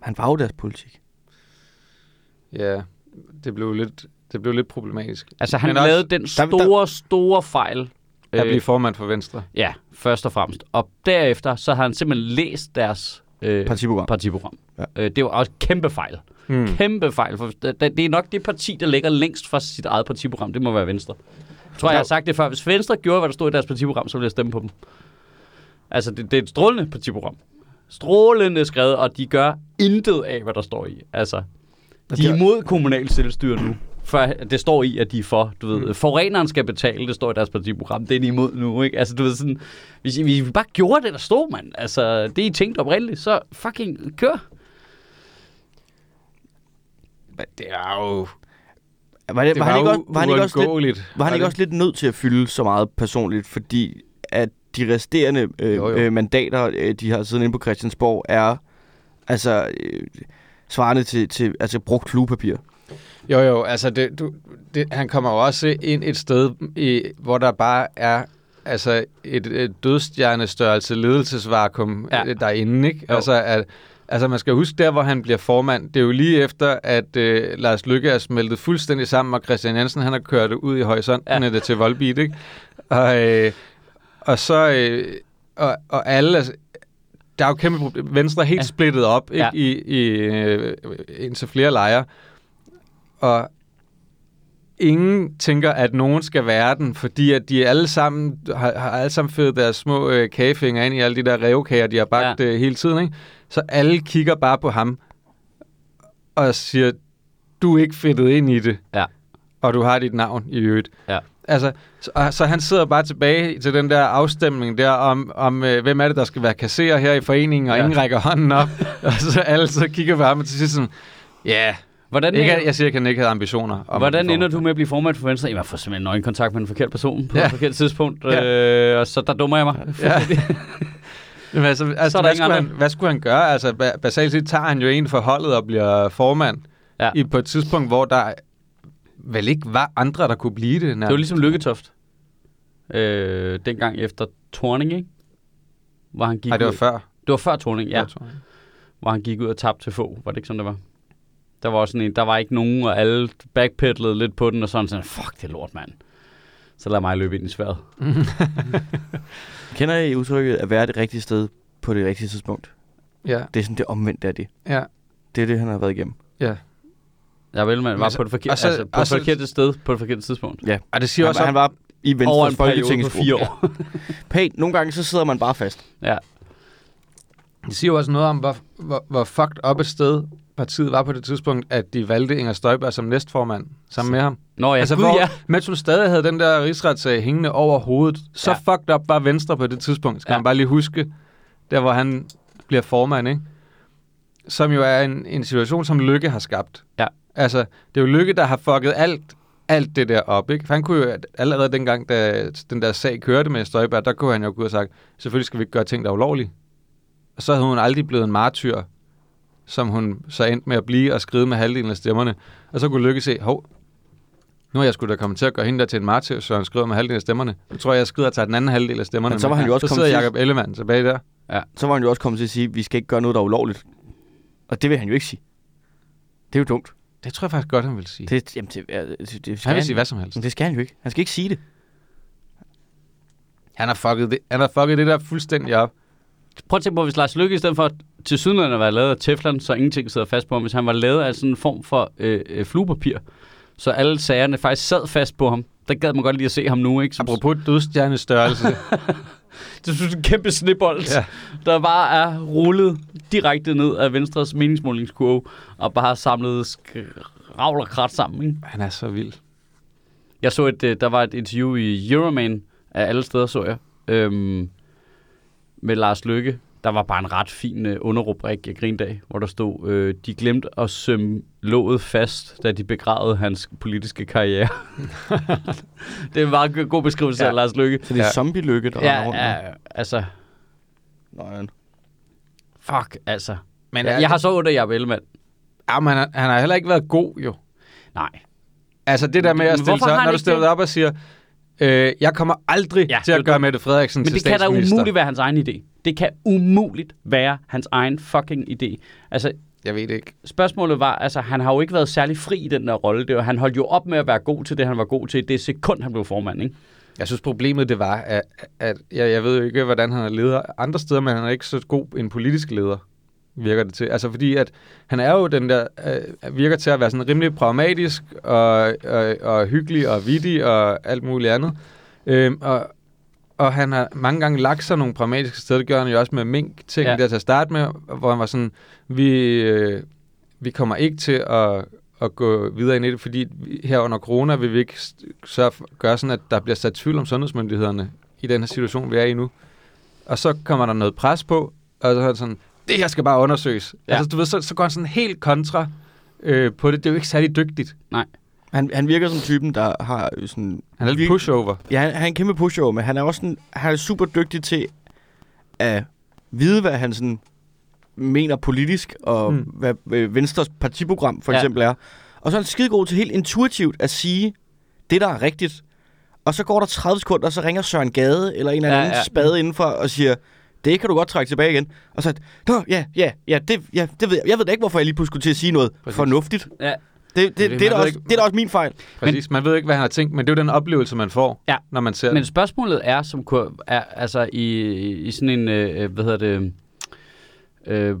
S3: Han var jo deres politik.
S2: Ja, det blev lidt, det blev lidt problematisk.
S1: altså han
S2: Men
S1: lavede
S2: også-
S1: også, den store, store fejl.
S2: At
S1: øh,
S2: blive formand for Venstre.
S1: Ja, først og fremmest. Og derefter, så har han simpelthen læst deres øh,
S3: Partiprogram.
S1: partiprogram.
S3: Ja.
S1: Ja. Øh, det var også et kæmpe fejl.
S2: Mm.
S1: Kæmpe fejl. For det, det er nok det parti, der ligger længst fra sit eget partiprogram. Det må være Venstre. Jeg tror, jeg har sagt det før. Hvis Venstre gjorde, hvad der stod i deres partiprogram, så ville jeg stemme på dem. Altså, det, det er et strålende partiprogram. Strålende skrevet, og de gør intet af, hvad der står i. Altså, de er imod kommunal selvstyre nu. Mm. For det står i, at de er for, du ved, forureneren skal betale, det står i deres partiprogram, det er de imod nu, ikke? Altså, du ved sådan, hvis I, hvis I bare gjorde det, der stod, mand, altså, det I tænkte oprindeligt, så fucking kør.
S2: Men det er jo...
S3: Var, det,
S2: Det
S3: var,
S2: var,
S3: han
S2: jo
S3: ikke også, var han ikke også lidt,
S2: uundgåeligt.
S3: var han ikke
S2: det?
S3: også lidt nødt til at fylde så meget personligt, fordi at de resterende øh,
S2: Jo, jo.
S3: jo, jo. Øh, mandater, øh, de har siden inde på Christiansborg, er altså øh, svarende til, til altså brugt fluepapir.
S2: Jo, jo, altså det, du, det, han kommer jo også ind et sted, i, hvor der bare er altså et, et dødstjernestørrelse ledelsesvakuum
S1: Ja.
S2: ja. derinde, ikke?
S1: Jo.
S2: Altså, at, altså man skal huske der, hvor han bliver formand, det er jo lige efter, at øh, Lars Lykke er smeltet fuldstændig sammen, og Christian Jensen, han har kørt det ud i horisonten
S1: Ja.
S2: ja. det til Volbeat, ikke? Og, øh, og så, øh, og, og alle, altså, der er jo kæmpe problem. Venstre er helt
S1: Ja.
S2: ja. splittet op, ikke?
S1: Ja.
S2: Ja. I, i øh, indtil flere lejre. Og ingen tænker, at nogen skal være den, fordi at de alle sammen har, har alle sammen født deres små øh, kagefinger ind i alle de der revkager, de har bagt ja. øh, hele tiden. Ikke? Så alle kigger bare på ham. og jeg siger, du er ikke fedtet ind i det,
S1: Ja.
S2: og du har dit navn i øvrigt.
S1: Ja.
S2: Altså, så, og, så han sidder bare tilbage til den der afstemning der om, om øh, hvem er det, der skal være kasserer her i foreningen, og
S1: Ja.
S2: ja. ingen rækker hånden op, og så alle så kigger på ham og til sidst sådan, ja,
S1: Hvordan,
S2: ikke,
S1: ender,
S2: at- jeg siger ikke, at han ikke havde ambitioner. Om
S1: hvordan ender du med at blive formand for Venstre? Jamen, jeg får simpelthen nøgenkontakt med en forkert person på ja.
S2: Ja.
S1: et forkert tidspunkt, ja. øh, og så der dummer jeg mig.
S2: Ja. Jamen, altså, altså,
S1: er der
S2: hvad,
S1: ingen
S2: skulle han,
S1: andre.
S2: hvad skulle han gøre? Altså, ba- basalt set tager han jo en for holdet og bliver formand
S1: Ja.
S2: ja. i, på et tidspunkt, hvor der vel ikke var andre, der kunne blive det.
S1: Det var ligesom Lykketoft. Øh, dengang efter Torning, ikke? Hvor han gik
S2: Nej, det var
S1: ud.
S2: før.
S1: det var før Torning, ja.
S2: Jeg tror.
S1: Hvor han gik ud og tabte til få. Var det ikke sådan, det var? Der var også sådan en, der var ikke nogen, og alle backpedalede lidt på den, og sådan sådan, fuck det er lort, mand. Så lad mig løbe ind i sværet.
S3: Kender I udtrykket at være det rigtige sted på det rigtige tidspunkt?
S2: Ja,
S3: Det er sådan det omvendte af det.
S2: ja,
S3: Det er det, han har været igennem.
S2: ja.
S1: Jeg vel, man var
S2: Men så-
S1: på det forkerte,
S2: og så-
S1: altså, på
S2: og
S1: det
S2: så-
S1: forkerte sted, på det forkerte tidspunkt.
S2: Og det siger
S3: Han,
S2: også,
S3: var-
S2: han,
S3: han var i
S1: Over
S3: Venstres
S1: en periode på
S3: Folketingets
S1: fire år.
S3: Pænt, nogle gange så sidder man bare fast.
S1: ja.
S2: det siger jo også noget om, hvor, hvor, hvor fucked op et sted partiet var på det tidspunkt, at de valgte Inger Støjberg som næstformand sammen med ham.
S1: Nå ja,
S2: Altså,
S1: altså, gud,
S2: hvor,
S1: ja.
S2: mens hun stadig havde den der rigsretssag hængende over hovedet, så
S1: Ja.
S2: ja. fucked up var Venstre på det tidspunkt, skal
S1: Ja.
S2: ja. man bare lige huske, der hvor han bliver formand, ikke? Som jo er en, en situation, som Lykke har skabt.
S1: Ja.
S2: Altså, det er jo Lykke, der har fucket alt, alt det der op, ikke? For han kunne jo allerede dengang, da den der sag kørte med Støjberg, der kunne han jo gå ud og sagt, selvfølgelig skal vi ikke gøre ting, der er ulovlige. Og så havde hun aldrig blevet en martyr, som hun så endte med at blive og skride med halvdelen af stemmerne. Og så kunne Lykke se, hov, nu er jeg skulle da komme til at gøre hende der til en martyr, så han skriver med halvdelen af stemmerne. Nu tror jeg, jeg skrider og tager den anden halvdel af stemmerne.
S3: Men så var
S2: med.
S3: han jo også
S2: så
S3: kommet
S2: sidder
S3: til-
S2: Jacob Ellemann tilbage der.
S3: Så var han jo også kommet til at sige, at vi skal ikke gøre noget, der er ulovligt. Og det vil han jo ikke sige. Det er jo dumt.
S2: Det tror jeg faktisk godt, han vil sige. Det
S3: Det, jamen, det, er- det, det skal
S2: han vil sige hvad som helst.
S3: Men det skal han jo ikke. Han skal ikke sige det.
S2: Han har fucket det, han har fucket det der fuldstændig op.
S1: Prøv at tænke på, hvis Lars Lykke i stedet for til sydenlandet at være lavet af Teflon, så ingenting sidder fast på ham, hvis han var lavet af sådan en form for øh, øh, fluepapir, så alle sagerne faktisk sad fast på ham. Der gad man godt lige at se ham nu, ikke? Som,
S2: Apropos dødstjernestørrelse.
S1: det synes en kæmpe snebold, ja.
S2: Ja.
S1: der bare er rullet direkte ned af Venstres meningsmålingskurve, og bare har samlet skravl og krat sammen, ikke?
S2: han er så vild.
S1: Jeg så et, øh, der var et interview i Euroman, af alle steder så jeg, øhm, med Lars Lykke. Der var bare en ret fin øh, underrubrik i Grindag, hvor der stod, øh, de glemte at sømme låget fast, da de begravede hans politiske karriere. det er en meget god beskrivelse ja.
S2: Ja.
S1: af Lars Lykke.
S3: Så det er ja.
S2: Ja.
S3: zombie-lykke, der render rundt.
S1: Ja,
S3: Ja.
S1: ja, altså,
S3: Nøj,
S1: fuck, altså.
S2: Men
S1: Jeg, jeg har så under Jacob Ellemann.
S2: jamen, han, har, han har heller ikke været god, jo.
S1: Nej.
S2: Altså det der med
S1: Men
S2: at stille
S1: hvorfor
S2: sig
S1: har
S2: op,
S1: han
S2: når du
S1: ikke
S2: stiller
S1: det?
S2: dig op og siger, øh, jeg kommer aldrig
S1: Ja,
S2: ja, til
S1: det er
S2: at gøre Mette Frederiksen
S1: Men
S2: til
S1: det kan da
S2: statsminister.
S1: umuligt være hans egen idé. Det kan umuligt være hans egen fucking idé. Altså,
S2: Jeg ved det ikke.
S1: spørgsmålet var, altså han har jo ikke været særlig fri i den der rolle. Det var, han holdt jo op med at være god til det, han var god til. i Det sekund, han blev formand, ikke?
S2: Jeg synes, problemet det var, at, at jeg, jeg ved jo ikke, hvordan han er leder andre steder, men han er ikke så god en politisk leder, virker det til. Altså fordi, at han er jo den der, øh, virker til at være sådan rimelig pragmatisk og, og, og hyggelig og vittig og alt muligt andet. Øhm, og, og han har mange gange lagt sig nogle pragmatiske steder, det gør han jo også med mink ting
S1: Ja.
S2: ja. der til at starte med, hvor han var sådan, vi, øh, vi kommer ikke til at, at gå videre ind i det, fordi vi- her under corona vil vi ikke s- sørge for, gøre sådan, at der bliver sat tvivl om sundhedsmyndighederne i den her situation, vi er i nu. Og så kommer der noget pres på, og så er han sådan, det her skal bare undersøges.
S1: Ja.
S2: Ja. Altså, du ved, så, så går han sådan helt kontra øh, på det. Det er jo ikke særlig dygtigt.
S3: Han, han virker som typen, der har øh, sådan...
S2: Han er lidt
S3: virke-
S2: pushover.
S3: Ja, han, han er en kæmpe pushover, men han er også sådan, han er super dygtig til at vide, hvad han sådan mener politisk, og mm.
S2: Mm.
S3: hvad øh, Venstres partiprogram for
S1: Ja.
S3: ja. eksempel er. Og så er han skidegod til helt intuitivt at sige det, der er rigtigt. Og så går der 30 sekunder, og så ringer Søren Gade eller en eller
S1: Ja,
S3: anden ja,
S1: ja.
S3: ja. spade indenfor og siger, det kan du godt trække tilbage igen. Og så, nå, ja, ja, ja, det, ja, det ved jeg. Jeg ved da ikke, hvorfor jeg lige pludselig skulle til at sige noget Præcis.
S2: Præcis.
S3: fornuftigt.
S1: Ja.
S3: Det, det,
S2: det,
S3: det, det,
S2: man
S3: er da
S2: ved
S3: også,
S2: ikke-
S3: det er da også min fejl.
S2: Præcis. Man ved ikke, hvad han har tænkt, men det er jo den oplevelse, man får,
S1: Ja.
S2: når man ser
S1: Men
S2: men,
S1: spørgsmålet er, som kur- er, altså i, i sådan en, øh, hvad hedder det, øh,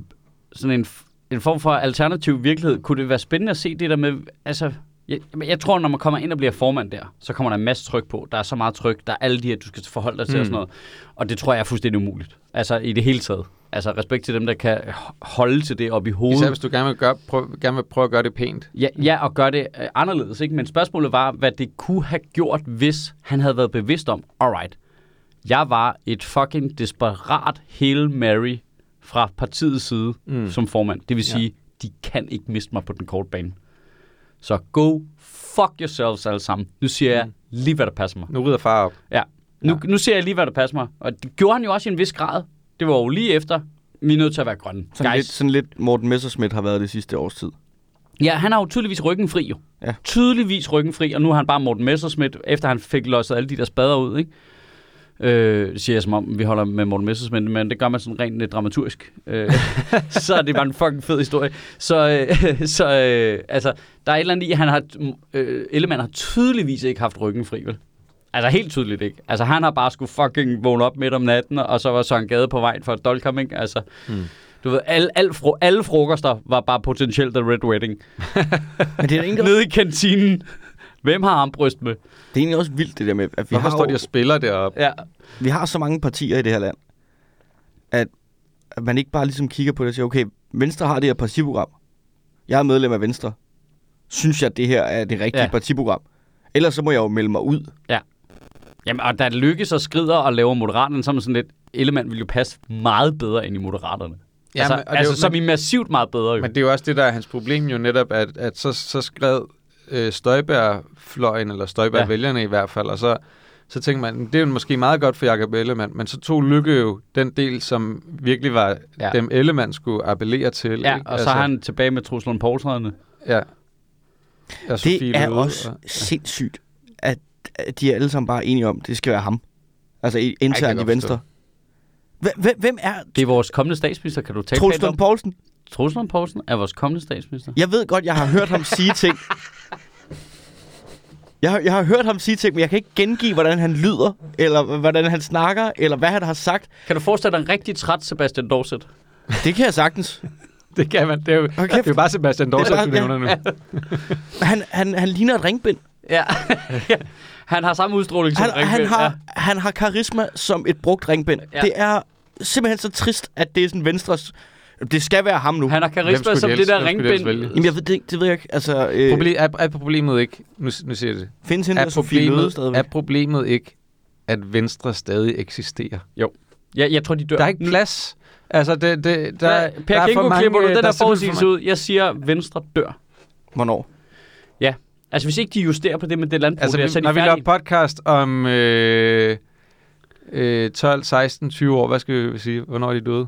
S1: sådan en, f- en form for alternativ virkelighed, kunne det være spændende at se det der med, altså, jeg, men jeg tror, når man kommer ind og bliver formand der, så kommer der en masse tryk på. Der er så meget tryk, der er alle de her, du skal forholde dig til mm. og sådan noget. Og det tror jeg er fuldstændig umuligt. Altså i det hele taget. Altså respekt til dem, der kan h- holde til det op i hovedet.
S2: Især hvis du gerne vil, gøre, prøv, gerne vil prøve at gøre det pænt.
S1: Ja, ja og gøre det øh, anderledes, ikke? Men spørgsmålet var, hvad det kunne have gjort, hvis han havde været bevidst om, alright, jeg var et fucking desperat Hail Mary fra partiets side mm. som formand. Det vil
S2: Ja.
S1: sige, de kan ikke miste mig på den korte bane. Så go fuck yourselves alle sammen. Nu siger jeg lige, hvad der passer mig.
S2: Nu rider far op.
S1: Ja. Nu, ja. nu ser jeg lige, hvad der passer mig. Og det gjorde han jo også i en vis grad. Det var jo lige efter, vi er nødt til at være grønne.
S3: Sådan, lidt,
S1: Guys,
S3: sådan lidt Morten Messerschmidt har været det sidste års tid.
S1: Ja, han har jo tydeligvis ryggen fri jo.
S3: Ja.
S1: Tydeligvis ryggen fri, og nu er han bare Morten Messerschmidt, efter han fik losset alle de der spader ud, ikke? Øh, det siger jeg som om, vi holder med Morten Messerschmidt, men det gør man sådan rent lidt dramaturgisk. Øh, så er det bare en fucking fed historie. Så, øh, så øh, altså, der er et eller andet i, han har, øh, Ellemann har tydeligvis ikke haft ryggen fri, vel? Altså helt tydeligt ikke. Altså han har bare skulle fucking vågne op midt om natten, og så var Søren Gade på vej for et dolkham, ikke? Altså,
S2: Mm.
S1: du ved, alle, alle, fro- alle frokoster var bare potentielt The Red Wedding.
S3: Men det er, egentlig også,
S1: Nede i kantinen. Hvem har armbryst med?
S3: det er egentlig også vildt, det der med, at vi
S2: Hvorfor
S3: har,
S2: står
S3: jo-
S2: de og spiller deroppe?
S1: Ja.
S3: vi har så mange partier i det her land, at, at man ikke bare ligesom kigger på det og siger, okay, Venstre har det her partiprogram. Jeg er medlem af Venstre. Synes jeg, det her er det rigtige
S1: Ja.
S3: ja. partiprogram? Ellers så må jeg jo melde mig ud.
S1: Jamen, og da lykkes og skrider og laver Moderaterne, så er man sådan lidt... Ellemann ville jo passe meget bedre ind i Moderaterne. Ja, altså,
S2: men-
S1: men,
S2: og det er
S1: altså
S2: jo-
S1: som
S2: men-
S1: i massivt meget bedre, jo.
S2: Men
S1: Men,
S2: det er jo også det, der er hans problem jo netop, at, at så, så skred øh, Støjbær-fløjen, eller Støjbær-vælgerne ja. i hvert fald, og så, så tænkte man, det er jo måske meget godt for Jacob Ellemann, men så tog Lykke jo den del, som virkelig var ja.
S1: Ja.
S2: dem Ellemann skulle appellere til.
S1: ja,
S2: ikke? Altså,
S1: og så er han tilbage med truslen Poulsrederne.
S2: Ja. Og Sofie
S3: Det er
S2: Løhde,
S3: også
S2: og-
S3: sindssygt, at at de er alle sammen bare enige om, at det skal være ham. Altså i-
S2: kan jeg
S3: internt i
S2: godt
S3: Venstre. Hvem- Hvem, hvem er
S1: Det er vores kommende statsminister, kan du tænke
S3: Troels
S1: pænt
S3: Lund
S1: om?
S3: Poulsen?
S1: Troels Lund Poulsen er vores kommende statsminister.
S3: Jeg ved godt, jeg har hørt ham sige ting. Jeg har, jeg har hørt ham sige ting, men jeg kan ikke gengive, hvordan han lyder, eller hvordan han snakker, eller hvad han har sagt.
S1: Kan du forestille dig en rigtig træt Sebastian Dorset?
S3: Det kan jeg sagtens.
S2: Det kan man. Det er jo,
S3: kæft.
S2: okay. det er jo bare Sebastian
S3: Det er
S2: Dorset,
S3: bare-
S2: du nævner nu.
S3: Han, han, han ligner et ringbind.
S1: Ja. han har samme udstråling som
S3: Han, han,
S1: Ringbind,
S3: har,
S1: ja.
S3: han har karisma som et brugt ringbind.
S1: Ja.
S3: Det er simpelthen så trist, at det er sådan Venstres... Det skal være ham nu.
S1: Han har karisma
S2: skulle de
S1: som det
S2: ellers-
S1: der
S2: hvem skulle de ellers vælge?
S1: ringbind.
S3: Jamen, jeg ved, det, det ved jeg ikke. Altså, øh,
S2: Problem, er, er problemet ikke, nu, nu siger jeg det,
S3: findes hende der
S2: er
S3: Sofie Løde
S2: problemet,
S3: stadigvæk?
S2: er problemet ikke, at Venstre stadig eksisterer?
S1: Jeg, jeg tror, de dør.
S2: Der er ikke plads. Altså, det, det, der,
S1: Der,
S2: der,
S1: Mm. per
S2: er for
S1: Kinko
S2: mange...
S1: klipper du
S2: øh,
S1: den
S2: er
S1: der
S2: simpelthen
S1: forudsigelse
S2: for mange-
S1: ud. Jeg siger, Venstre dør.
S3: Hvornår?
S1: Altså, hvis ikke de justerer på det med det landbrug, altså,
S2: Altså,
S1: der, så
S2: vi,
S1: er de
S2: når vi laver
S1: færdige.
S2: podcast om øh, øh, 12, 16, 20 år, hvad skal vi sige? Hvornår er de døde?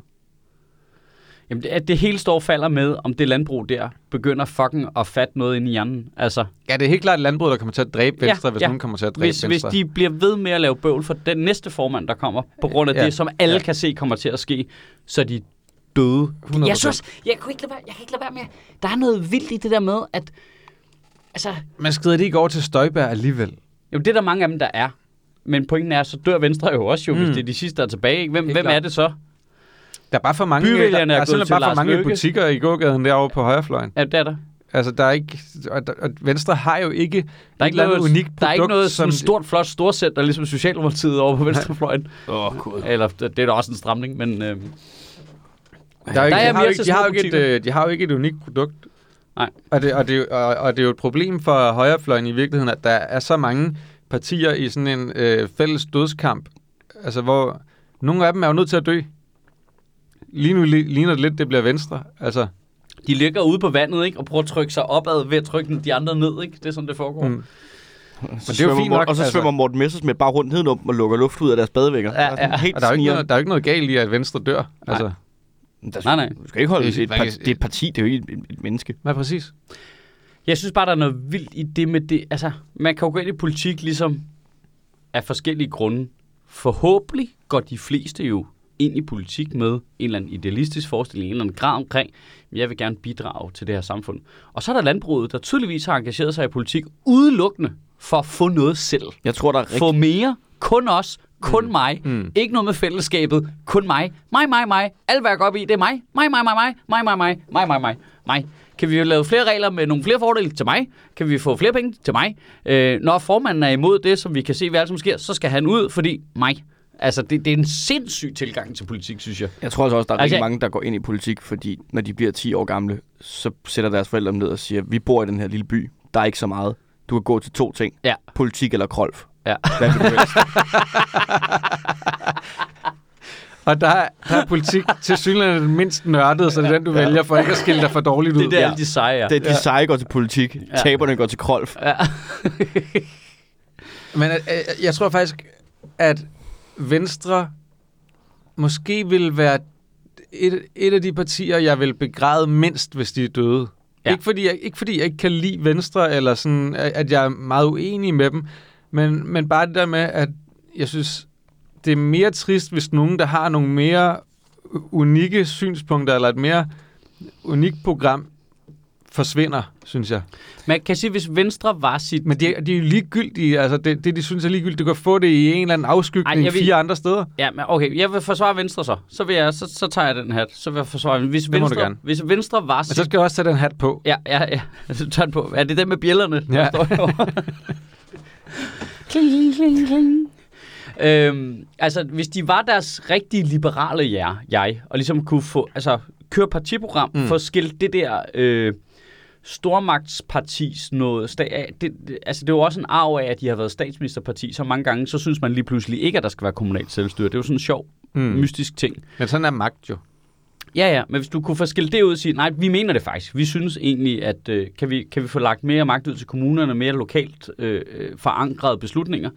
S1: Jamen, det, at det hele står og falder med, om det landbrug der begynder fucking at fatte noget ind i hjernen. Altså,
S2: Ja, det er helt klart landbruget, der kommer til at dræbe
S1: Ja,
S2: Venstre, hvis
S1: ja.
S2: nogen kommer til at dræbe
S1: hvis, hvis
S2: Venstre.
S1: de bliver ved med at lave bøvl for den næste formand, der kommer, på grund af
S2: Ja.
S1: ja. det, som alle
S2: Ja.
S1: ja. kan se kommer til at ske, så er de døde.
S2: 100%.
S1: Jeg synes, jeg kan, ikke lade være, jeg kan ikke lade være med, der er noget vildt i det der med, at altså,
S2: Man skrider det ikke over til Støjberg alligevel.
S1: Jo, det er der mange af dem, der er. Men pointen er, så dør Venstre jo også jo, mm. hvis
S2: Mm.
S1: det er de sidste, der er tilbage. Ikke? Hvem,
S2: Helt
S1: hvem
S2: klart.
S1: er det så?
S2: Der er bare for mange,
S1: Byvælgerne er
S2: der, der
S1: gået
S2: simpelthen
S1: til
S2: bare for
S1: Lars
S2: mange
S1: Løkke.
S2: butikker i gågaden derovre på højrefløjen.
S1: Ja, det er der.
S2: Altså, der er ikke... Og, der, og Venstre har jo ikke
S1: Der er ikke
S2: et eller
S1: noget,
S2: andet unikt produkt,
S1: der er ikke noget sådan
S2: som-
S1: stort, flot storcenter, ligesom Socialdemokratiet over på Venstrefløjen. Åh, oh, cool. Eller, det det er da også en stramning, men... Øh,
S2: Der er jo
S1: Der
S2: ikke,
S1: er
S2: de, har
S1: mere
S2: jo ikke,
S1: til
S2: de,
S1: små
S2: har jo ikke et,
S1: butikker.
S2: øh, de har jo ikke et unikt produkt.
S1: Nej.
S2: Og det, og, det, og, og det er jo et problem for højrefløjen i virkeligheden, at der er så mange partier i sådan en øh, fælles dødskamp, altså hvor nogle af dem er jo nødt til at dø. Lige nu li- ligner det lidt, det bliver venstre. Altså,
S1: de ligger ude på vandet, ikke? Og prøver at trykke sig opad ved at trykke de andre ned, ikke? Det er sådan, det foregår.
S2: mm.
S3: Så
S2: det er jo
S3: svømmer
S2: fint
S3: Morten-
S2: nok,
S3: Og så
S2: altså.
S3: svømmer Morten Messersmith bare rundt nedenom og lukker luft ud af deres badevinger.
S1: Ja,
S3: Der er sådan
S1: ja.
S3: Helt
S2: og der er, jo ikke
S3: sniger.
S2: noget, der er jo ikke noget galt i, at venstre dør. Altså,
S3: Der skal,
S1: Nej, nej.
S3: Du skal ikke holde
S2: Det er
S3: det, et, parti,
S2: faktisk-
S3: det er et parti, det er jo ikke et, et menneske.
S2: hvad præcis?
S1: Jeg synes bare, der er noget vildt i det med det. Altså, man kan jo gå ind i politik ligesom af forskellige grunde. Forhåbentlig går de fleste jo ind i politik med en eller anden idealistisk forestilling, en eller anden grad omkring, men jeg vil gerne bidrage til det her samfund. Og så er der landbruget, der tydeligvis har engageret sig i politik udelukkende for at få noget selv.
S3: Jeg tror, der er
S1: Rigtig.
S3: rigtig...
S1: Få mere, kun os, kun mm. mig.
S2: Mm.
S1: Mm. Ikke noget med fællesskabet, kun mig. Mig, mig, mig. Alt hvad jeg går op i, det er mig. Mig, mig, mig, mig. Mig, mig, mig. Mig, mig, mig. Mig. Kan vi lave flere regler med nogle flere fordele til mig? Kan vi få flere penge til mig? Øh, når formanden er imod det, som vi kan se, hvad som sker, så skal han ud, fordi mig. Altså, det, det er en sindssyg tilgang til politik, synes jeg.
S3: Jeg tror altså også, der er
S1: Altså,
S3: altså, rigtig
S1: jeg-
S3: mange, der går ind i politik, fordi når de bliver 10 år gamle, så sætter deres forældre dem ned og siger, vi bor i den her lille by, der er ikke så meget. Du kan gå til to ting.
S1: Ja.
S3: Politik eller krolf.
S1: Ja.
S3: Hvad vil du helst?
S2: Og der er, der er politik til synligheden den mindst nørdede, så det er den, du vælger, for ikke at skille dig for dårligt ud.
S1: Det er der, alle de sejre.
S3: Det, de seje går til politik, ja. taberne går til krolf.
S1: Ja.
S2: Men øh, jeg tror faktisk, at Venstre måske vil være et, et af de partier, jeg vil begræde mindst, hvis de er døde.
S1: Ja.
S2: Ja. Ikke, fordi jeg, ikke fordi jeg ikke kan lide Venstre, eller sådan, at at jeg er meget uenig med dem, men, men bare det der med, at jeg synes, det er mere trist, hvis nogen, der har nogle mere unikke synspunkter, eller et mere unikt program, forsvinder, synes jeg.
S1: Man kan sige, hvis Venstre var sit...
S2: Men det, er- det er jo ligegyldigt, altså det, det, de synes er ligegyldigt. Du kan få det i en eller anden afskygning
S1: Ej, jeg
S2: Ej,
S1: vil-
S2: vil... fire andre steder.
S1: Ja, men okay, jeg vil forsvare Venstre så. Så, vil jeg, så, så tager jeg den hat. Så vil jeg forsvare... Hvis
S2: må du
S1: Venstre,
S2: gerne. Altså-
S1: Hvis Venstre var
S2: Men
S1: sit...
S2: så skal jeg også tage den hat på.
S1: Ja, ja, ja. Så tager den på. Er det den med bjællerne?
S2: Ja.
S1: Der står herovre? kling, kling, kling, kling. Øhm, altså, hvis de var deres rigtige liberale jer, jeg, og ligesom kunne få, altså, køre partiprogram, mm. få skilt det der øh, stormagtspartis noget, sta- af- det, det, altså det er jo også en arv af, at de har været statsministerparti så mange gange, så synes man lige pludselig ikke, at der skal være kommunalt selvstyre. Det er jo sådan en sjov, mm. mystisk ting.
S2: Men sådan er magt jo.
S1: Ja, ja, men hvis du kunne få skilt det ud og sige, nej, vi mener det faktisk. Vi synes egentlig, at øh, kan, vi, kan vi få lagt mere magt ud til kommunerne, mere lokalt øh, øh, forankrede beslutninger,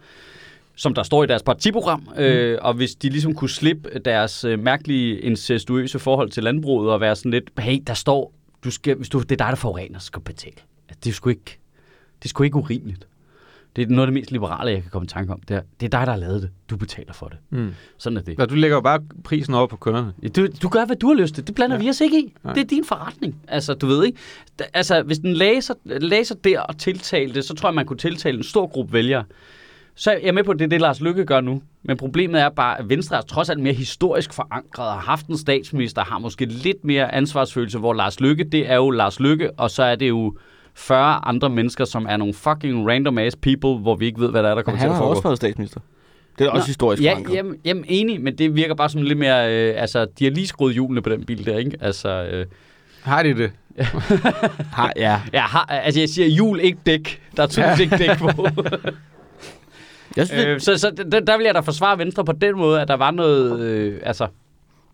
S1: som der står i deres partiprogram, øh, og hvis de ligesom kunne slippe deres øh, mærkelige incestuøse forhold til landbruget og være sådan lidt, hey, der står, du skal, hvis du, det er dig, der forurener, så skal du betale. Altså, Det er sgu ikke, det er sgu ikke urimeligt. Det er noget af det mest liberale, jeg kan komme i tanke om. Det er, det er dig, der har lavet det. Du betaler for det.
S2: Mm.
S1: Sådan er det.
S2: Nå, du lægger jo bare prisen over på kunderne.
S1: Ja, Du, du gør, hvad du har lyst til. Det blander ja. vi os ikke i.
S2: Nej.
S1: Det er din forretning. Altså, du ved ikke. Da- Altså, hvis den læser, læser der og tiltalte, så tror jeg, man kunne tiltale en stor gruppe vælgere. Så er jeg med på, at det er det, Lars Lykke gør nu. Men problemet er bare, at Venstre er trods alt mere historisk forankret, har haft en statsminister, har måske lidt mere ansvarsfølelse, hvor Lars Lykke, det er jo Lars Lykke, og så er det jo 40 andre mennesker, som er nogle fucking random ass people, hvor vi ikke ved, hvad der er, der kommer til
S3: Han
S1: at
S3: har
S1: foregå.
S3: også været statsminister. Det er også historisk
S1: ja,
S3: forankret.
S1: jamen, jamen, enig, men det virker bare som lidt mere... Øh, altså, de har lige skruet hjulene på den bil der, ikke? Altså, øh,
S2: Har de det?
S3: Har, ja.
S1: jeg, har, altså jeg siger hjul, ikke dæk. Der er tydeligvis ikke dæk på.
S3: Jeg, synes,
S1: øh,
S3: øh,
S1: så så der, der vil jeg da forsvare Venstre på den måde, at der var noget... Øh, altså,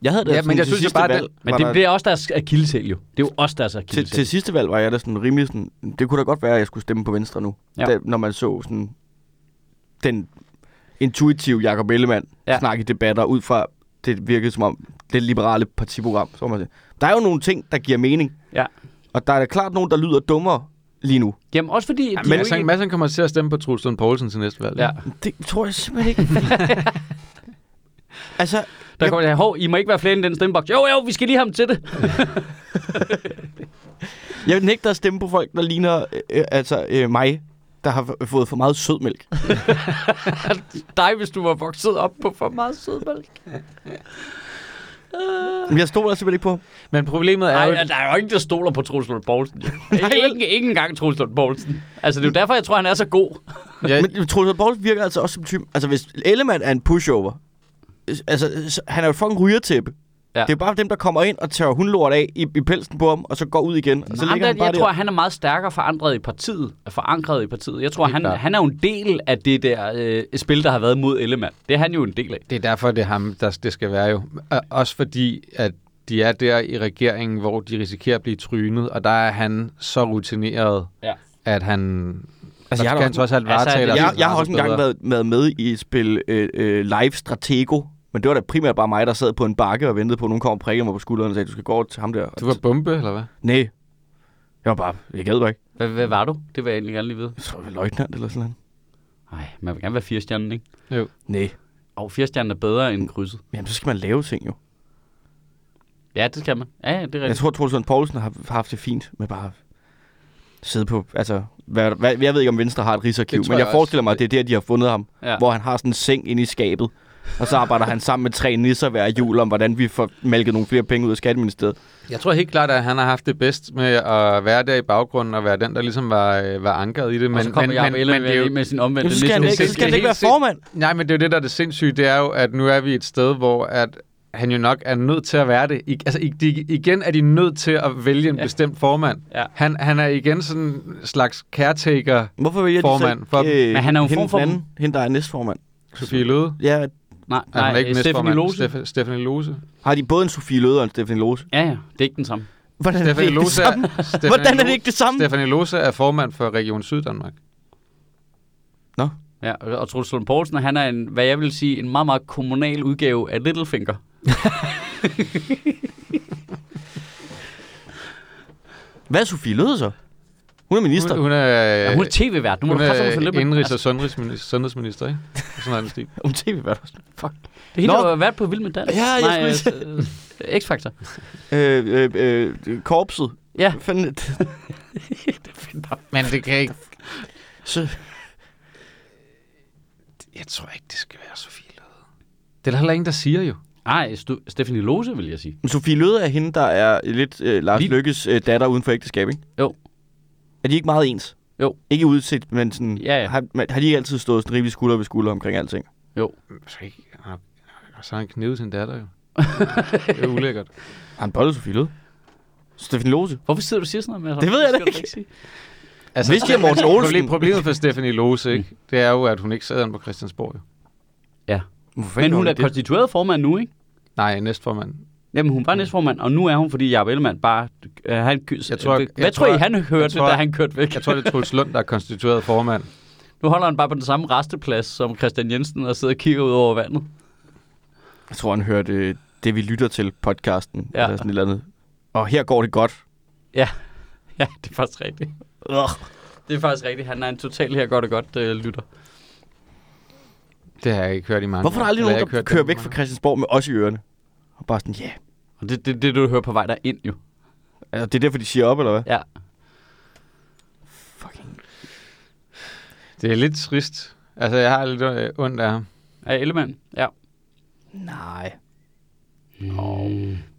S3: jeg havde det
S2: ja,
S3: sådan
S2: men jeg
S3: til
S2: synes jo
S3: sidste
S2: bare,
S3: valg,
S2: den-
S1: men
S3: var
S1: det,
S3: der-
S1: det er også deres akilleshæl jo. Det er jo også deres
S3: til,
S1: akilleshæl.
S3: til sidste valg var jeg da sådan rimelig sådan, det kunne da godt være, at jeg skulle stemme på Venstre nu.
S1: Ja.
S3: Ja. Da, når man så sådan den intuitive Jacob Ellemann
S1: Ja.
S3: ja. snakke i debatter ud fra, det virkede som om, det liberale partiprogram. Så må man sige. Der er jo nogle ting, der giver mening,
S1: Ja.
S3: og der er da klart nogen, der lyder dummere lige nu.
S1: Jamen også fordi... de er
S2: Men
S1: jo
S2: altså,
S1: ikke-
S2: Madsen kommer til at stemme på Truls Lund Poulsen til næste valg.
S1: Ja.
S3: Det tror jeg simpelthen ikke. altså,
S1: Der kommer jeg, hov, I må ikke være flere end den stemmeboks. Jo, jo, vi skal lige have ham til det.
S3: jeg nægter at stemme på folk, der ligner øh, altså, øh, mig, der har f- fået for meget sødmælk.
S1: Altså, Dig, hvis du var vokset op på for meget sødmælk.
S3: Men jeg stoler simpelthen ikke på ham.
S2: Men problemet er
S1: Nej,
S2: jo...
S1: der er jo ingen, der stoler på Troels Lund Poulsen. jo. ikke, ikke engang Troels Lund Poulsen. Altså, det er jo derfor, jeg tror, han er så god.
S2: Ja,
S3: Men Troels Lund Poulsen virker altså også som typen... Altså, hvis Ellemann er en pushover... øh, Altså, så- han er jo et fucking rygertæppe.
S1: Ja.
S3: Ja. Det er bare dem, der kommer ind og tørrer hundlort af i, i pelsen på ham, og så går ud igen. Og så
S1: Så
S3: ligger
S1: der,
S3: han bare
S1: jeg
S3: der.
S1: tror, han er meget stærkere forankret i partiet. Forankret i partiet. Jeg tror, han,
S2: klart.
S1: han er jo en del af det der øh, spil, der har været mod Ellemann. Det er han jo en del af.
S2: Det er derfor, det er ham, der det skal være jo. Og Også fordi, at de er der i regeringen, hvor de risikerer at blive trynet, og der er han så rutineret,
S1: Ja.
S2: at han... Altså,
S3: jeg
S2: jeg
S3: har da
S2: kan han
S3: også-
S2: trods alt
S1: Altså,
S2: varetage
S1: jeg-
S2: deres
S3: jeg, jeg har
S2: interesser
S3: også engang
S2: bedre.
S3: været, været med i et spil øh, øh, Live Stratego, men det var da primært bare mig, der sad på en bakke og ventede på, at nogen kom og prikkede mig på skulderen og sagde, du skal gå over til ham der.
S2: Du var bombe, eller hvad?
S3: Nej. Jeg var bare, jeg gad bare ikke.
S1: Hvad, hvad var du? Det vil jeg egentlig gerne lige vide.
S3: Jeg tror, jeg var løjtnant eller sådan noget.
S1: Nej, man vil gerne være firestjernen, ikke?
S3: Nej.
S1: Og firestjernen er bedre end krydset.
S3: Jamen, så skal man lave ting jo.
S1: Ja, det skal man. Ja, ja, det er
S3: Jeg
S1: rigtigt.
S3: tror, Troels Lund Poulsen har har haft det fint med bare at sidde på... Altså, hvad, hvad, jeg ved ikke, om Venstre har et rigsarkiv,
S2: Det tror
S3: men
S2: jeg
S3: jeg,
S2: også.
S3: forestiller mig, at det er der, de har fundet ham.
S1: Ja.
S3: Ja. Hvor han har sådan en seng inde i skabet, Og så arbejder han sammen med tre nisser hver jul om, hvordan vi får malket nogle flere penge ud af Skatteministeriet.
S2: Jeg tror helt klart, at han har haft det bedst med at være der i baggrunden og være den, der ligesom var, øh, var ankret i det. Men,
S1: og så kommer
S2: men,
S1: Jacob
S2: men, men
S1: Ellemann
S2: det er jo,
S1: med sin omvendte
S3: Så skal han
S1: Niels
S3: ikke, så
S1: Nielsen.
S3: skal han ikke være
S2: helt sind-
S3: formand.
S2: Nej, men det er jo det, der er det sindssyge. Det er jo, at nu er vi et sted, hvor at han jo nok er nødt til at være det. I, altså, i, de, igen er de nødt til at vælge en
S1: Ja.
S2: ja. bestemt formand.
S1: Ja.
S2: Han, han er igen sådan en slags caretaker,
S3: Hvorfor vælger
S2: Formand
S3: de så
S2: for
S3: ikke, øh,
S1: Men han er jo en
S3: hende
S1: form for-
S3: den anden, hende, der er næstformand?
S2: Sofie Løde.
S3: Ja,
S1: Nej,
S2: Er
S1: nej,
S2: hun ikke
S1: øh, Stephanie
S2: næstformand?
S1: Lose.
S2: Steff- Stephanie Lose.
S3: har de både en Sofie Løde og en Stefanie Lose?
S1: Ja, ja, det er ikke den samme.
S3: Hvordan er det
S2: Stephanie
S3: ikke det
S2: Lose
S3: samme?
S2: er, Stephanie
S3: Hvordan er det
S2: Lose-
S3: ikke det samme?
S2: Stephanie Lose er formand for Region Syddanmark.
S1: Ja, og og Troels Lund Poulsen, han er en, hvad jeg vil sige, en meget, meget kommunal udgave af Littlefinger.
S2: Øh,
S3: Hvad er Sofie Løde så? Hun er minister.
S2: Hun, hun er,
S1: Ja, hun er tv-vært, nu må
S2: hun
S1: du krasse
S2: er
S1: lidt med.
S2: indrigs- øh, og
S1: Altså,
S2: sundhedsminister, sundhedsminister ikke? Sådan er den stil.
S3: Hun tv-vært også. Fuck.
S1: det er hende,
S3: Nå.
S1: der har været på Vild med Dans.
S3: Ja, jeg
S1: Nej,
S3: skulle
S1: øh, øh, X-Factor.
S3: Øh, øh, øh, korpset.
S1: Ja.
S3: Hvad Fanden, er det?
S2: Men det kan ikke...
S3: så,
S2: Jeg tror ikke, det skal være Sofie Løde. Det er der heller ingen, der siger jo.
S1: Nej, Stu- Stephanie Lose, vil jeg sige.
S3: Men Sofie Løde er hende, der er lidt øh, Lars
S1: Lige-
S3: Lykkes øh, datter uden for ægteskab, ikke?
S1: Jo.
S3: Er de ikke meget ens?
S1: Jo.
S3: Ikke udset, men sådan,
S1: Ja, ja.
S3: Har, man, har de ikke altid stået sådan rimelig skulder ved skulder omkring alting?
S2: Så ikke... Og så har han knivet sin datter jo. Det er ulækkert.
S3: Har han bollet Sofie Løde? Steffen Lose?
S1: Hvorfor sidder du og siger sådan noget med
S3: Det ved jeg da
S1: skal du
S3: ikke.
S1: sige.
S3: Altså, Hvis de er Morten Olsen,
S2: Proble- Problemet for Stephanie Lose, ikke? Det er jo, at hun ikke sad på Christiansborg. Jo.
S3: Hvorfor
S1: Men
S3: fanden
S1: hun er
S3: gjorde de det?
S1: konstitueret formand nu, ikke?
S2: Nej, næstformand.
S1: Jamen, hun var næstformand, og nu er hun, fordi Jacob Ellemann bare... Øh, han, kys,
S2: Jeg tror-
S1: hvad
S2: jeg
S1: tror
S2: tror-
S1: I, han hørte,
S2: jeg tror-
S1: da han kørte væk?
S2: Jeg tror, det er Truls Lund, der er konstitueret formand.
S1: Nu holder han bare på den samme resteplads som Christian Jensen og sidder og kigger ud over vandet.
S3: Jeg tror, han hørte øh, det, vi lytter til podcasten.
S1: Ja.
S3: Ja. Eller sådan et eller andet. Og her går det godt.
S1: Ja, det er faktisk rigtigt.
S3: Ugh.
S1: Det er faktisk rigtigt. Han er en total her godt og godt øh, lytter.
S2: Det har jeg ikke hørt i mange
S3: Hvorfor er der
S2: år.
S3: aldrig
S2: Eller jeg har
S3: nogen,
S2: ikke
S3: der
S2: hørt
S3: kører
S2: den
S3: væk
S2: i
S3: fra
S2: mange
S3: Christiansborg med os i ørerne? Og bare sådan, ja. Yeah.
S1: Og det er det, det, du hører på vej derind, jo.
S3: Altså, det er derfor, de siger op, eller hvad?
S1: Ja.
S3: Fucking.
S2: år. Det er lidt trist. Altså, jeg har lidt øh, ondt af ham.
S1: Er Ellemann? Ja.
S3: Nej.
S1: Mm.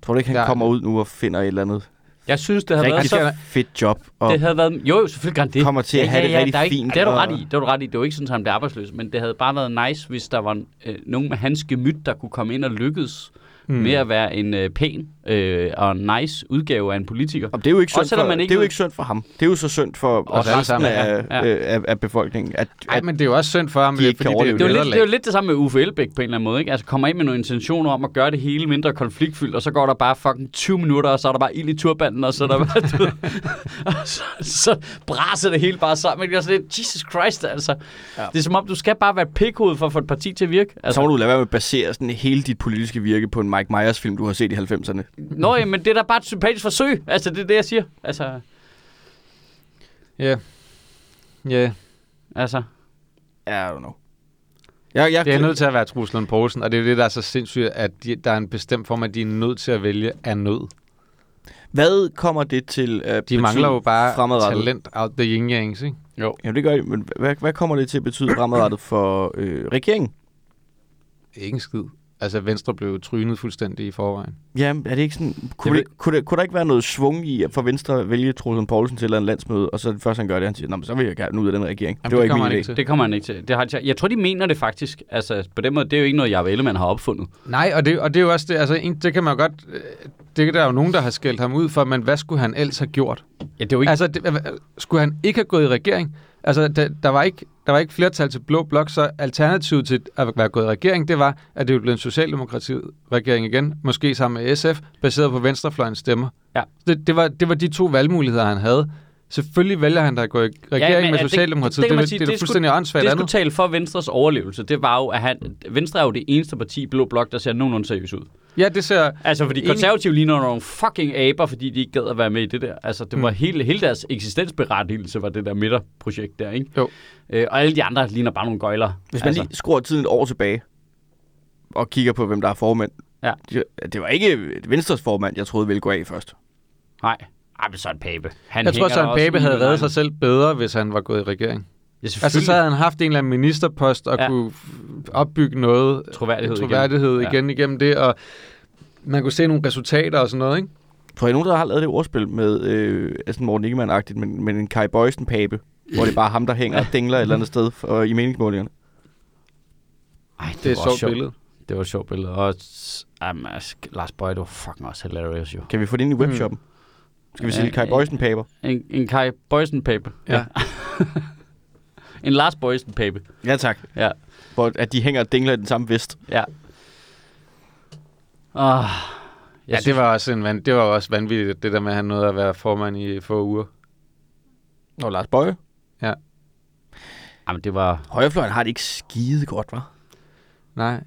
S3: Tror du ikke, han
S2: Ja.
S3: ja. kommer ud nu og finder et eller andet
S1: Jeg synes, det havde
S3: rigtig
S1: været så...
S3: fedt job? altså, Og
S1: Det havde været... Jo, jo, selvfølgelig kan det.
S3: kommer til at have det rigtig
S1: der er
S3: fint,
S1: Ikke, det er du
S3: og-
S1: ret i. Det er du ret i. Det var ikke sådan, at han blev arbejdsløs, men det havde bare været nice, hvis der var øh, nogen med hans gemyt, der kunne komme ind og lykkes
S3: Hmm.
S1: mm. med at være en øh, pæn øh, og nice udgave af en politiker.
S3: og det er jo ikke
S1: Også
S3: synd
S1: selvom
S3: for,
S1: man ikke
S3: det er jo
S1: ved-
S3: ikke synd for ham. Det er jo så synd for
S2: Os
S3: os
S2: alle
S3: resten
S2: sammen,
S3: af,
S1: ja.
S3: ja. øh, af, af befolkningen. At,
S2: Ej,
S3: at,
S2: men det er jo også synd for ham,
S3: de
S2: fordi
S3: ikke kan
S2: det er jo
S1: Det er, jo lidt,
S2: nederlag.
S1: det er jo lidt det samme med Uffe Elbæk på en eller anden måde, ikke? Altså kommer ind med nogle intentioner om at gøre det hele mindre konfliktfyldt, og så går der bare fucking 20 minutter, og så er der bare ild i turbanden, og så er der bare, du ved, og så, så braser det hele bare sammen. Det er sådan lidt, Jesus Christ, altså. Ja. Det er som om, du skal bare være et pikhoved for at få et parti til at virke.
S3: så
S1: Altså,
S3: må du lade være med at basere sådan hele dit politiske virke på en Mike Myers-film, du har set i 90'erne.
S1: Nå, ja, men det er da bare et sympatisk forsøg. Altså, det er det, jeg siger. Altså,
S2: Ja. Ja,
S1: altså.
S3: Ja, I don't know. Jeg, jeg,
S2: det er nødt til at være Truls Lund Poulsen, og det er det, der er så sindssygt, at de, der er en bestemt form, at de er nødt til at vælge af nød.
S3: Hvad kommer det til at
S2: De mangler jo bare
S3: fremadrettet?
S2: talent out the yin yangs, ikke?
S3: Ja, det gør de, men hvad, hvad kommer det til at betyde fremadrettet for øh, regeringen?
S2: Ikke en skid. Altså, Venstre blev jo trynet fuldstændig i forvejen.
S3: Jamen, er det ikke sådan... Kunne,
S2: Jeg
S3: det, kunne, det, kunne der ikke være noget svung i at for Venstre at vælge Troelsen Poulsen til et eller andet landsmøde, og så det første, han gør det, han siger, Nå, men så vil jeg gerne ud af den regering.
S2: Jamen,
S3: det var
S2: det kommer han
S3: ikke min
S2: ikke
S3: idé.
S2: til.
S1: Det kommer han ikke til. Det har, jeg tror, de mener det faktisk. Altså, på den måde, det er jo ikke noget, Jacob Ellemann har opfundet.
S2: Nej, og det, og det er jo også det, altså, en- det kan man jo godt... øh, Det er der jo nogen, der har skældt ham ud for, men hvad skulle han ellers have gjort?
S1: Ja, det er jo ikke...
S2: Altså, det, øh, skulle han ikke have gået i regering? Altså, der, der, var ikke, der var ikke flertal til Blå Blok, så alternativet til at være gået i regering, det var, at det blev en socialdemokratisk regering igen, måske sammen med SF, baseret på venstrefløjens stemmer.
S1: Ja.
S2: Det, det, var, det var de to valgmuligheder, han havde. Selvfølgelig vælger han, der går i regering ja,
S1: men,
S2: med
S1: ja, det-
S2: Socialdemokratiet.
S1: det
S2: Det,
S1: kan
S2: det,
S1: man
S2: det,
S1: sige,
S2: det, det,
S1: det
S2: er
S1: skulle-
S2: fuldstændig åndssvagt
S1: Det skulle
S2: andet.
S1: tale for Venstres overlevelse. Det var jo, at han, Venstre er jo det eneste parti i Blå Blok, der ser nogenlunde seriøst ud.
S2: Ja, det ser...
S1: Altså, fordi
S2: Enig.
S1: konservative ligner nogle fucking aber, fordi de ikke gad at være med i det der. Altså, det var
S2: Hmm.
S1: hele, hele deres eksistensberettigelse, var det der midterprojekt der, ikke?
S2: Jo.
S1: Øh, og alle de andre ligner bare nogle gøjler.
S3: Hvis man
S1: altså,
S3: lige skruer tiden et år tilbage, og kigger på, hvem der er formand.
S1: Ja.
S3: Det, det var ikke Venstres formand, jeg troede ville gå af først.
S1: Nej. Ej, men Søren Pape. Han
S2: Jeg tror,
S1: hænger der
S2: Søren
S1: også
S2: Pape
S1: i
S2: havde reddet
S1: lejen.
S2: sig selv bedre, hvis han var gået i regering.
S1: Ja,
S2: Altså,
S1: selvfølgelig.
S2: så havde han haft en eller anden ministerpost og
S1: Ja.
S2: ja. kunne f- opbygge noget øh,
S1: troværdighed,
S2: troværdighed
S1: igen.
S2: igen. igen igennem det, og man kunne se nogle resultater og sådan noget, ikke?
S3: Prøv at nogen, der har lavet det ordspil med øh, altså Morten Ingemann-agtigt, men, men en Kai Bøjsen-pape, hvor det er bare ham, der hænger og dingler et eller andet sted for, i meningsmålingerne.
S1: Ej,
S2: Det er et
S1: var
S2: sjovt
S1: sjovt.
S2: billede.
S1: Det var et sjovt billede. Og s- jamen, altså, Lars Bøje, det var fucking også hilarious, jo.
S3: Kan vi få det ind i webshoppen? Skal vi
S1: Ja,
S3: sige Kai
S1: ja.
S3: Bøjsen-paper?
S1: En, en Kai Bøjsen-pape.
S2: Ja.
S1: En Lars Bøjsen-pape.
S3: Ja, tak.
S1: Ja.
S3: Hvor at de hænger og dingler i den samme vest.
S1: Ja. Ah,
S2: Ja, det var også en van, det var også vanvittigt, det der med at han nåede at være formand i få uger.
S3: Nå, Lars Bøje.
S1: Jamen, det var...
S3: Højrefløjen har det ikke skide godt, hva'?
S2: Nej.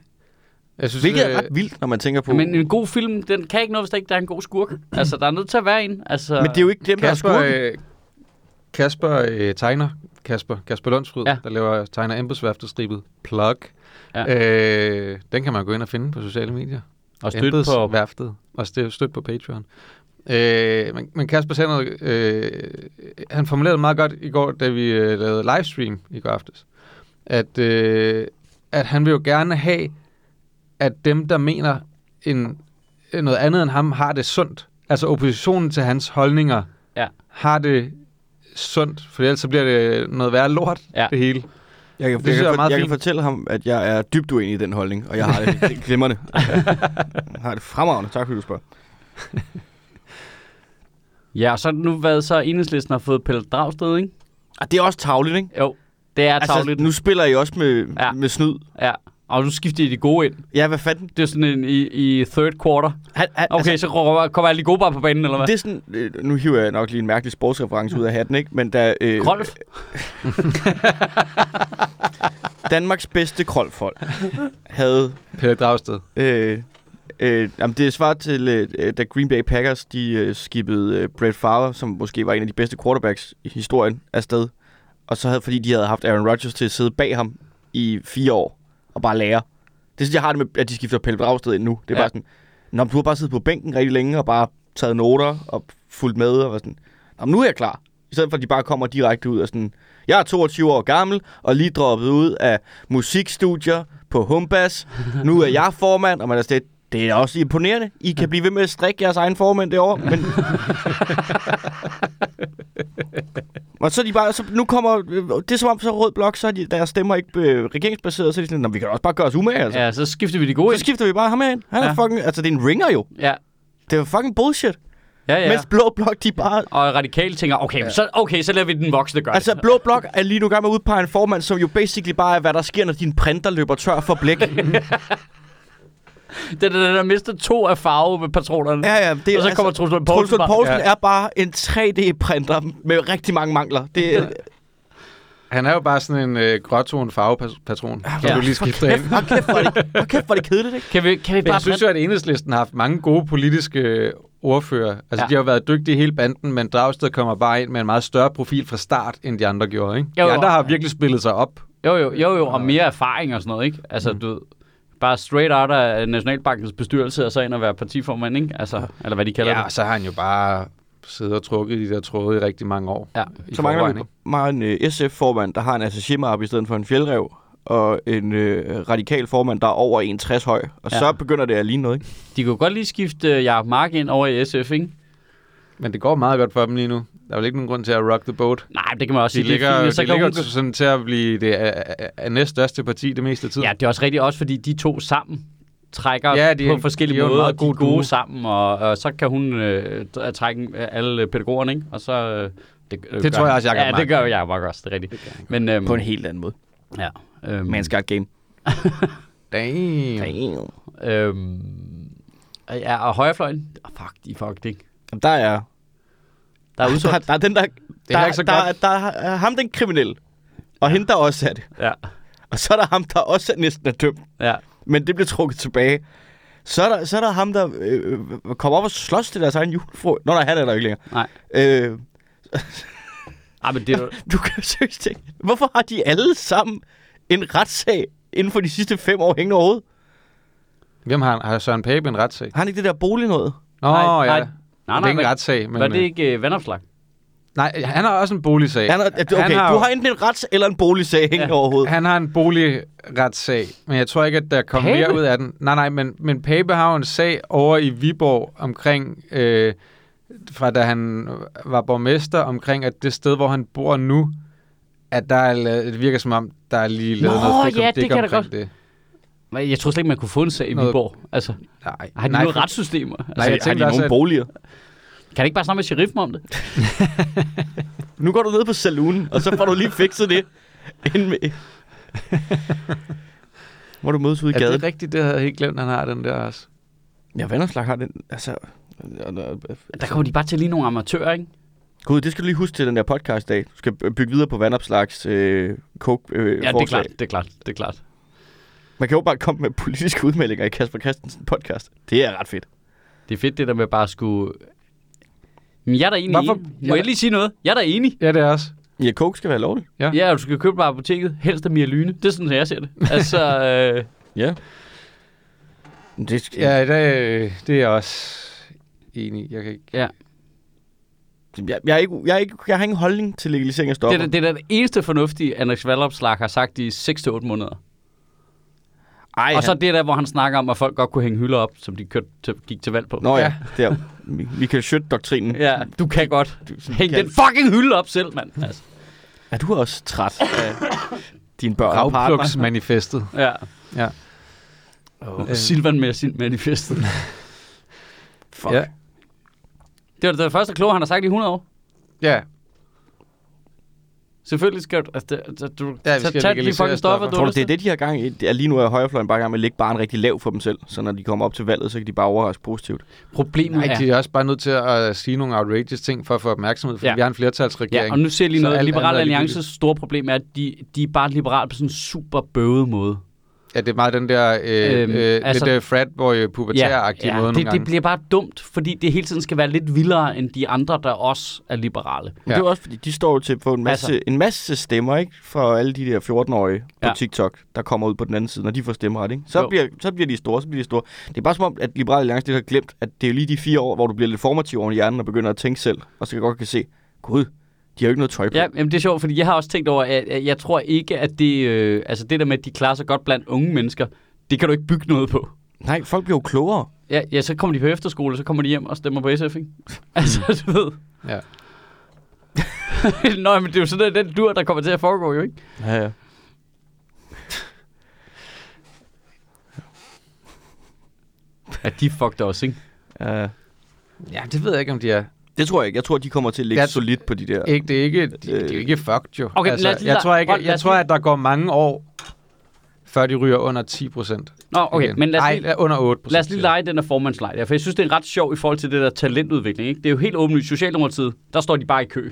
S2: Jeg synes,
S3: Hvilket er
S2: øh,
S3: ret vildt, når man tænker på...
S1: Men en god film, den kan ikke noget, hvis der ikke der er en god skurk. Altså, der er nødt til at være en. Altså,
S3: men det er jo ikke dem, der er
S2: Kasper,
S3: skurken.
S2: øh, Kasper øh, tegner, Kasper, Kasper Lundsrud,
S1: Ja.
S2: ja. der laver tegner embedsværftestribet Plug.
S1: Ja.
S2: Ja. Øh, den kan man gå ind og finde på sociale medier.
S1: Og støtte på...
S2: værftet. Og støt, støt på Patreon. Øh, men, men Kasper sagde noget, øh, han formulerede det meget godt i går, da vi øh, lavede livestream i går aftes, at, øh, at han vil jo gerne have, at dem, der mener en, øh, noget andet end ham, har det sundt. Altså oppositionen til hans holdninger
S1: Ja.
S2: har det sundt, for ellers så bliver det noget værre lort,
S1: Ja.
S2: ja. det hele.
S3: Jeg kan,
S2: det synes jeg er
S3: for,
S2: meget
S3: jeg kan
S2: fint.
S3: fortælle ham, at jeg er dybt uenig i den holdning, og jeg har det glimrende. jeg har det fremragende. Tak, fordi du spørger.
S1: Ja, og så har det nu været så, at enhedslisten har fået Pelle Dragsted, ikke?
S3: Ah, det er også tavligt, ikke? Altså,
S1: Jo, det er tavligt.
S3: nu spiller I også med,
S1: Ja.
S3: ja. med snyd.
S1: Ja, og nu skifter I de gode ind.
S3: Ja, hvad fanden?
S1: Det er sådan en i, i third quarter.
S3: Han, han,
S1: Okay, altså, så kommer- kommer alle de gode bare på banen, eller hvad?
S3: Det er sådan, øh, nu hiver jeg nok lige en mærkelig sportsreference ud af hatten, ikke? Men da øh,
S1: Rolf?
S3: Danmarks bedste krolfolk havde...
S2: Pelle Dragsted.
S3: Øh, øh, jamen det er svar til, øh, da Green Bay Packers, de øh, skibede øh, Brett Favre, som måske var en af de bedste quarterbacks i historien, afsted. Og så havde, fordi de havde haft Aaron Rodgers til at sidde bag ham i fire år og bare lære. Det er sådan, jeg har det med, at de skifter Pelle Dragsted ind nu. Det er
S1: Ja.
S3: ja. bare sådan, Nå, men du har bare siddet på bænken rigtig længe og bare taget noter og fulgt med og var sådan, Nå, men nu er jeg klar. I stedet for, at de bare kommer direkte ud og sådan, jeg er 22 år gammel og lige droppet ud af musikstudier på Humbas. Nu er jeg formand, og man er slet, det er da også imponerende. I kan blive ved med at strikke jeres egen formand derovre, men... og så er de bare, så nu kommer, det er som om så Rød Blok, så er de, deres stemmer ikke øh, regeringsbaseret, så er de sådan, "Nå, vi kan da også bare gøre os umage, altså.
S1: Ja, så skifter vi de gode
S3: Så
S1: ind.
S3: skifter vi bare ham herind. Han er
S1: Ja.
S3: fucking... Altså, det er en ringer jo.
S1: Ja,
S3: Det er fucking bullshit.
S1: ja, ja.
S3: Ja. Mens Blå Blok, de bare...
S1: Og radikale tænker, okay, ja. så, okay, så lader vi den voksne gøre
S3: Altså,
S1: det.
S3: Blå Blok er lige nu i gang med at udpege en formand, som jo basically bare er, hvad der sker, når din printer løber tør for blæk.
S1: Det er den, der mister to af farvepatronerne.
S3: ja,
S1: Ja,
S3: ja, det er
S1: og så kommer Truls Lund Poulsen
S3: Troels Lund
S1: bare-
S3: Poulsen
S2: Ja.
S3: er bare en 3D-printer med rigtig mange mangler. Det er...
S2: Han er jo bare sådan en øh, gråton farvepatron, som
S1: Ja.
S2: du lige skifter ind.
S3: Hold kæft, hvor er det, hold kæft, hvor er det kedeligt, ikke?
S1: Kan vi, kan vi
S2: Men
S1: bare
S2: jeg synes jo, at enhedslisten har haft mange gode politiske øh, ordfører. Altså,
S1: Ja.
S2: ja. de har jo været dygtige i hele banden, men Dragsted kommer bare ind med en meget større profil fra start, end de andre gjorde, ikke?
S1: Jo, jo.
S2: de andre har virkelig spillet sig op.
S1: Jo, jo, jo, jo, og mere erfaring og sådan noget, ikke? Altså, mm. du ved, bare straight out af Nationalbankens bestyrelse, og så ind og være partiformand, ikke? Altså, eller hvad de kalder
S2: Ja, og
S1: det.
S2: så har han jo bare siddet og trukket i de der tråde i rigtig mange år.
S1: Ja.
S2: I
S3: Så mangler vi
S2: forvejen,
S3: bare en øh, SF-formand, der har en attaché i stedet for en fjeldrev, og en øh, radikal formand, der er over 1,60 høj. Og
S1: Ja.
S3: så begynder det at ligne noget, ikke?
S1: De kunne godt lige skifte uh, Jacob Mark ind over i SF, ikke?
S2: ikke? Men det går meget godt for dem lige nu. Der er vel ikke nogen grund til at rock the boat.
S1: Nej, men det kan man også
S2: De
S1: sige. det er
S2: ligger,
S1: fint, men
S2: de ligger
S1: hun-
S2: til- sådan til at blive det øh, øh, øh, næststørste parti det meste af tiden.
S1: Ja, det er også rigtigt, også fordi de to sammen trækker ja,
S2: Ja,
S1: de,
S2: de-
S1: på forskellige
S2: de er jo en
S1: måder, og
S2: meget
S1: de er
S2: god
S1: gode
S2: duo.
S1: sammen, og, og så kan hun øh, t- trække øh, alle pædagogerne, ikke? Og så... Øh, det, øh,
S2: Det
S1: gør
S2: tror jeg
S1: han.
S2: også, Jacob
S1: Ja, det
S2: Mark
S1: gør
S2: gør.
S1: jeg også, det er rigtigt. Men, øhm,
S3: På en helt anden måde.
S1: ja, øhm,
S3: Man's got game.
S2: Damn.
S3: Damn.
S1: øhm, ja, og højrefløjen, oh, fuck, de er fucked, ikke?
S3: Jamen, der er...
S1: Der er udsolgt.
S3: Der, der er den der...
S2: heller
S3: der,
S2: ikke så
S3: der,
S2: godt.
S3: der, der er ham, den kriminelle. Og hende, der også er det.
S1: ja,
S3: Og så er der ham, der også er næsten er dømt.
S1: ja.
S3: Men det bliver trukket tilbage. Så er der, så er der ham, der øh, kommer op og slås til deres egen julefro. Nå, nej, han er der jo ikke længere.
S1: Nej.
S3: Øh,
S1: Ej, Ah, men det er jo...
S3: du kan seriøst ikke... Hvorfor har de alle sammen en retssag inden for de sidste fem år hængende overhovedet?
S2: Hvem har, har Søren Pape en retssag?
S3: Har han ikke det der bolig noget?
S2: Nå,
S1: Nej,
S2: ja.
S1: nej.
S2: Nej, nej, det er ikke en retssag, men...
S1: var det
S2: øh,
S1: ikke øh, vandopslag?
S2: Nej, han har også en boligsag.
S3: Han er, okay,
S2: Øh, Han har
S3: du
S2: jo-
S3: har enten en rets- eller en boligsag hængende over hovedet.
S2: Han har en boligretsag, men jeg tror ikke, at der kommer
S1: Pape?
S2: mere ud af den. Nej, nej, men, men Pape har jo en sag over i Viborg omkring, øh, fra da han var borgmester, omkring, at det sted, hvor han bor nu, at der er lavet, det virker som om, der er lige lavet
S1: Nå,
S2: noget fikum
S1: ja,
S2: dik
S1: det kan da
S2: omkring
S1: godt-
S2: det.
S1: Men Jeg tror slet ikke, man kunne få en sag i
S2: Noget-
S1: Viborg. Altså,
S2: Nej,
S1: har de
S2: nej,
S1: noget
S2: for-
S1: retssystemer? Altså,
S2: Nej, jeg
S3: har de
S2: tænkte også,
S3: nogle
S2: at
S3: boliger?
S1: Kan det ikke bare snakke med sheriffen om det?
S3: Nu går du ned på saloonen, og så får du lige fikset det. Inden med... Må du mødes ude i
S2: er
S3: gaden?
S2: det rigtigt, det havde jeg helt glemt, han har den der også.
S3: Ja, Vanderslag har den. Altså,
S1: Der kommer de bare til lige nogle amatører, ikke?
S3: Gud, det skal du lige huske til den der podcast i dag. Du skal bygge videre på Vandopslags øh, coke øh,
S1: Ja, det er
S3: forslag.
S1: klart, det er klart, det er klart.
S3: Man kan jo bare komme med politiske udmeldinger i Kasper Christensen podcast. Det er ret fedt.
S1: Det er fedt det der med bare at skulle... Men jeg er da enig
S2: Hvorfor-
S1: i. Må jeg lige sige noget? Jeg er da enig.
S2: Ja, det er også.
S3: Ja, coke skal være lovligt.
S2: Ja.
S1: Ja, du skal købe på apoteket. Helst af mere lyne. Det er sådan, jeg ser det. Altså, øh,
S3: Ja. Men Det skal, ja.
S2: Ja, det, det er jeg også enig i. Jeg kan ikke...
S3: jeg, jeg, er ikke, jeg, er ikke, jeg har ingen holdning til legalisering af
S1: det,
S3: stoffer.
S1: er,
S3: Det,
S1: det er da det eneste fornuftige, Anders Valopslag har sagt i 6-8 måneder.
S3: Ej,
S1: Og så
S3: han-
S1: det der, hvor han snakker om, at folk godt kunne hænge hylder op, som de kørte til, gik til valg på.
S3: Nå ja, der. Mi- Michael Schødt-doktrinen.
S1: Ja, du kan godt hænge
S3: kan-
S1: den fucking hylde op selv, mand. Altså,
S3: Er du også træt af dine børn og partner?
S2: Ravplugsmanifestet.
S1: ja.
S2: Ja.
S1: Oh. Silvan med sin manifestet.
S3: Fuck.
S2: Ja.
S1: Det var det første kloge, han har sagt i 100 år.
S2: Ja,
S1: Selvfølgelig skal du... Altså, det, altså, du
S2: Ja, vi
S1: tag-
S2: skal
S1: tag de
S2: legalisere
S1: fucking stoffer,
S2: stoffer.
S1: du
S3: Tror
S1: har
S3: du,
S1: lyst
S3: det er
S1: til.
S3: det, de har gang i? Det er lige nu er højrefløjen bare i gang med at lægge barn rigtig lav for dem selv, så når de kommer op til valget, så kan de bare overraske positivt.
S1: Problemet
S2: Nej,
S1: er...
S2: de er også bare nødt til at sige nogle outrageous ting for at få opmærksomhed, fordi
S1: Ja.
S2: ja. vi har en
S1: Ja,
S2: flertalsregering.
S1: og nu ser jeg lige
S2: Så
S1: noget.
S2: alt- alt
S1: Liberale
S2: er ligegyldigt.
S1: Alliances store problem er, at de, de er bare liberale på sådan en super bøvet måde.
S2: Ja, det er meget den der øh,
S1: Øhm,
S2: øhm, øh,
S1: altså-
S2: altså, lidt øh, fratboy pubertær-agtige måde nogle
S1: det, det
S2: gange.
S1: bliver bare dumt, fordi det hele tiden skal være lidt vildere end de andre, der også er liberale.
S3: Men ja. det er jo også, fordi de står jo til at få en masse, altså. en masse stemmer, ikke? Fra alle de der 14-årige på
S1: Ja.
S3: ja. TikTok, der kommer ud på den anden side, når de får stemmeret, ikke? Så,
S1: Jo.
S3: bliver, så bliver de store, så bliver de store. Det er bare som om, at Liberale Alliance det har glemt, at det er lige de fire år, hvor du bliver lidt formativ oven i hjernen og begynder at tænke selv, og så kan godt kan se, gud, de har jo ikke noget tøj på.
S1: Ja, jamen det er sjovt, fordi jeg har også tænkt over, at, at jeg tror ikke, at det, øh, altså det der med, at de klarer sig godt blandt unge mennesker, det kan du ikke bygge noget på.
S3: Nej, folk bliver jo klogere.
S1: Ja, ja, så kommer de på efterskole, så kommer de hjem og stemmer på SF, ikke? Altså, du ved.
S2: Ja.
S1: Nå, men det er jo sådan den, den dur, der kommer til at foregå, jo ikke?
S3: Ja, ja.
S1: Ja, de fucked os, ikke?
S3: ja.
S2: Ja, det ved jeg ikke, om de er.
S3: Det tror jeg ikke. Jeg tror, de kommer til at ligge
S2: Jeg-
S3: solidt på de der...
S2: Ikke, det er ikke, de, de er jo
S3: Øh.
S2: ikke fucked, jo. Altså,
S1: Okay, lad os lige-
S2: jeg tror, ikke,
S1: hold- lad
S2: jeg
S1: os
S2: tror
S1: lige-
S2: at der går mange år, før de ryger under 10 procent.
S1: Nå, okay, men lad os lige...
S2: Nej, under 8 procent.
S1: Lad os lige lege den der formandslej der, for jeg synes, det er ret sjov i forhold til det der talentudvikling. Ikke? Det er jo helt åbenlyst. Socialdemokratiet, der står de bare i kø.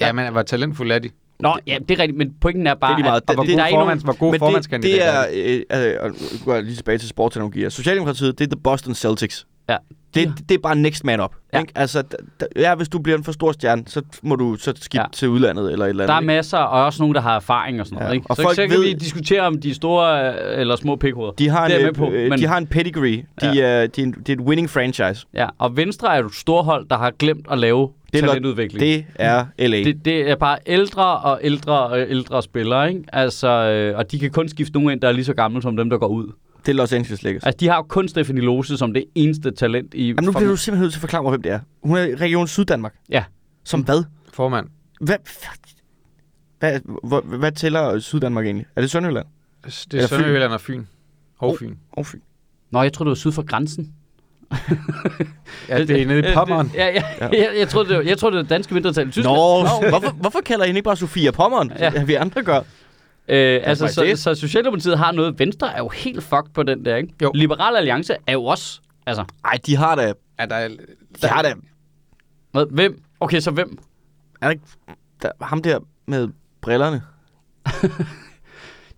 S2: Ja, men hvor talentfulde er de?
S1: Nå, ja, det er rigtigt, men pointen er bare,
S3: Det er lige meget.
S1: at, at
S3: Det-
S2: Og hvor
S1: der,
S2: gode,
S1: der er ikke nogen...
S2: formands, hvor gode
S3: det, det
S2: formandskandidater
S3: er,
S2: er de?
S3: øh, øh, og nu går jeg lige tilbage til sportsanalogier. Socialdemokratiet, det er The Boston Celtics.
S1: Ja.
S3: Det, det er bare next man up.
S1: Ja.
S3: Ja. Ikke? Altså, d- d- ja, hvis du bliver en for stor stjerne, så må du så skifte
S1: Ja.
S3: ja. til udlandet eller et eller
S1: Der er
S3: andet.
S1: masser, og også nogen, der har erfaring og sådan noget.
S3: Ja,
S1: Ikke?
S3: og
S1: så,
S3: folk
S1: så kan
S3: ved-
S1: vi diskutere, om de er store øh, eller små pikhoveder.
S3: ikke? De har,
S1: det er jeg
S3: en, øh,
S1: med på,
S3: øh,
S1: men-
S3: de har en pedigree. De,
S1: Ja.
S3: ja. er, de er en, det er et winning franchise.
S1: Ja, og Venstre er jo et storhold, der har glemt at lave
S3: Det er nok-
S1: talentudvikling. Mm.
S3: Det er LA. Det,
S1: Det, det er bare ældre og ældre og ældre spillere, ikke? Altså, øh, og de kan kun skifte nogen ind, der er lige så gamle som dem, der går ud.
S3: det er Los Angeles Lakers.
S1: Altså, de har jo kun Stephanie Lose som det eneste talent i...
S3: Jamen, nu bliver du simpelthen nødt til at forklare mig, hvem det er. Hun er i Region Syddanmark.
S1: Ja. Mm.
S3: Som hvad?
S2: Formand.
S3: Hvad, hvad, hvad, hvad tæller Syddanmark egentlig? Er det Sønderjylland?
S2: Det er
S3: Eller Fyn.
S2: Sønderjylland og Fyn. Og
S3: Oh.
S2: Fyn.
S3: Oh, fy.
S1: Nå, jeg tror det var syd for grænsen. Øh,
S2: Ja, det er nede i Pommeren.
S1: Ja, ja, ja. Jeg, jeg, tror, det var, jeg tror, det var danske mindretal i Tyskland.
S3: Nå, hvorfor, hvorfor kalder I hende ikke bare Sofia Pommeren,
S1: Ja.
S3: ja. vi andre gør?
S1: Øh, altså,
S3: faktisk
S1: så,
S3: det.
S1: så Socialdemokratiet har noget. Venstre er jo helt fucked på den der, ikke?
S2: Jo.
S1: Liberal Alliance er jo også... Altså,
S3: Ej, de har da...
S2: Ja, der er,
S3: De har da...
S1: hvad, hvem? Okay, så hvem?
S3: Er der ikke... Der, ham der med brillerne.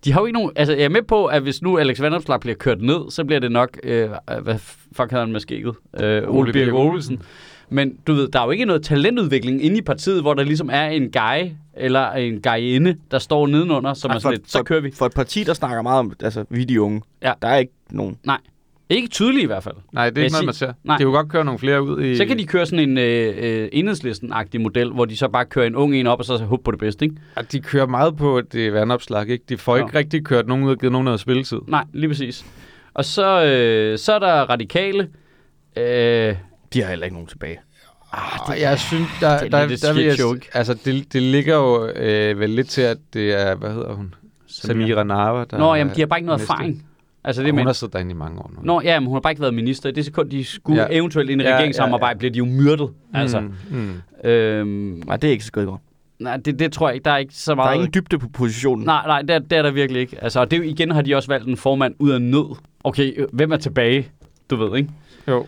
S1: De har jo ikke nogen... Altså, jeg er med på, at hvis nu Alex Vandopslag bliver kørt ned, så bliver det nok... Øh, hvad fuck hedder han med skægget? Øh, Ole
S2: Ole
S1: Birk
S2: Birk
S1: Olesen. Men du ved, der er jo ikke noget talentudvikling inde i partiet, hvor der ligesom er en guy eller en guyinde, der står nedenunder, som er
S3: Ej,
S1: sådan lidt, så kører vi.
S3: For et parti, der snakker meget om... Altså, vi er de unge.
S1: Ja.
S3: Der er ikke nogen.
S1: Ikke tydelige i hvert fald.
S2: Nej, det er
S1: Jeg
S2: ikke noget,
S1: sig-
S2: man ser.
S1: Nej.
S2: De kunne godt køre nogle flere ud i...
S1: Så kan de køre sådan en øh, øh, enhedslisten-agtig model, hvor de så bare kører en ung en op, og så håber på det bedste, ikke?
S2: Og de kører meget på det vandopslag, ikke? De får ikke
S1: Nå.
S2: rigtig kørt nogen ud og givet nogen noget spilletid.
S1: Nej, lige præcis. Og så, øh, så er der radikale. Øh,
S3: De har heller ikke nogen tilbage.
S2: Arh, jeg synes, der,
S1: det er
S2: der, der,
S1: lidt
S2: der vil jeg,
S1: skidt joke.
S2: altså, det, det ligger jo øh, vel lidt til, at det er, hvad hedder hun? Samira Narva, der
S1: Nå, jamen, de har bare ikke noget
S2: næste.
S1: erfaring. Altså,
S2: Og
S1: det er
S2: Hun har
S1: med.
S2: siddet derinde i mange år nu.
S1: Nå, ja, men hun har bare ikke været minister. I det sekund, de skulle
S2: Ja.
S1: ja. eventuelt ind i
S2: Ja,
S1: regeringssamarbejde,
S2: ja,
S1: ja, ja. bliver de jo myrdet. Altså,
S2: Mm, mm.
S1: øhm,
S3: Nej, det er ikke så skødt godt.
S1: nej, det, det tror jeg ikke. Der er ikke så
S3: Der
S1: meget...
S3: er ingen dybde på
S2: Mm.
S3: positionen.
S1: Nej, nej, det er, det er der virkelig ikke. Altså, og det er jo, igen har de også valgt en formand ud af nød. Okay, øh, hvem er tilbage? Du ved, ikke?
S2: Jo.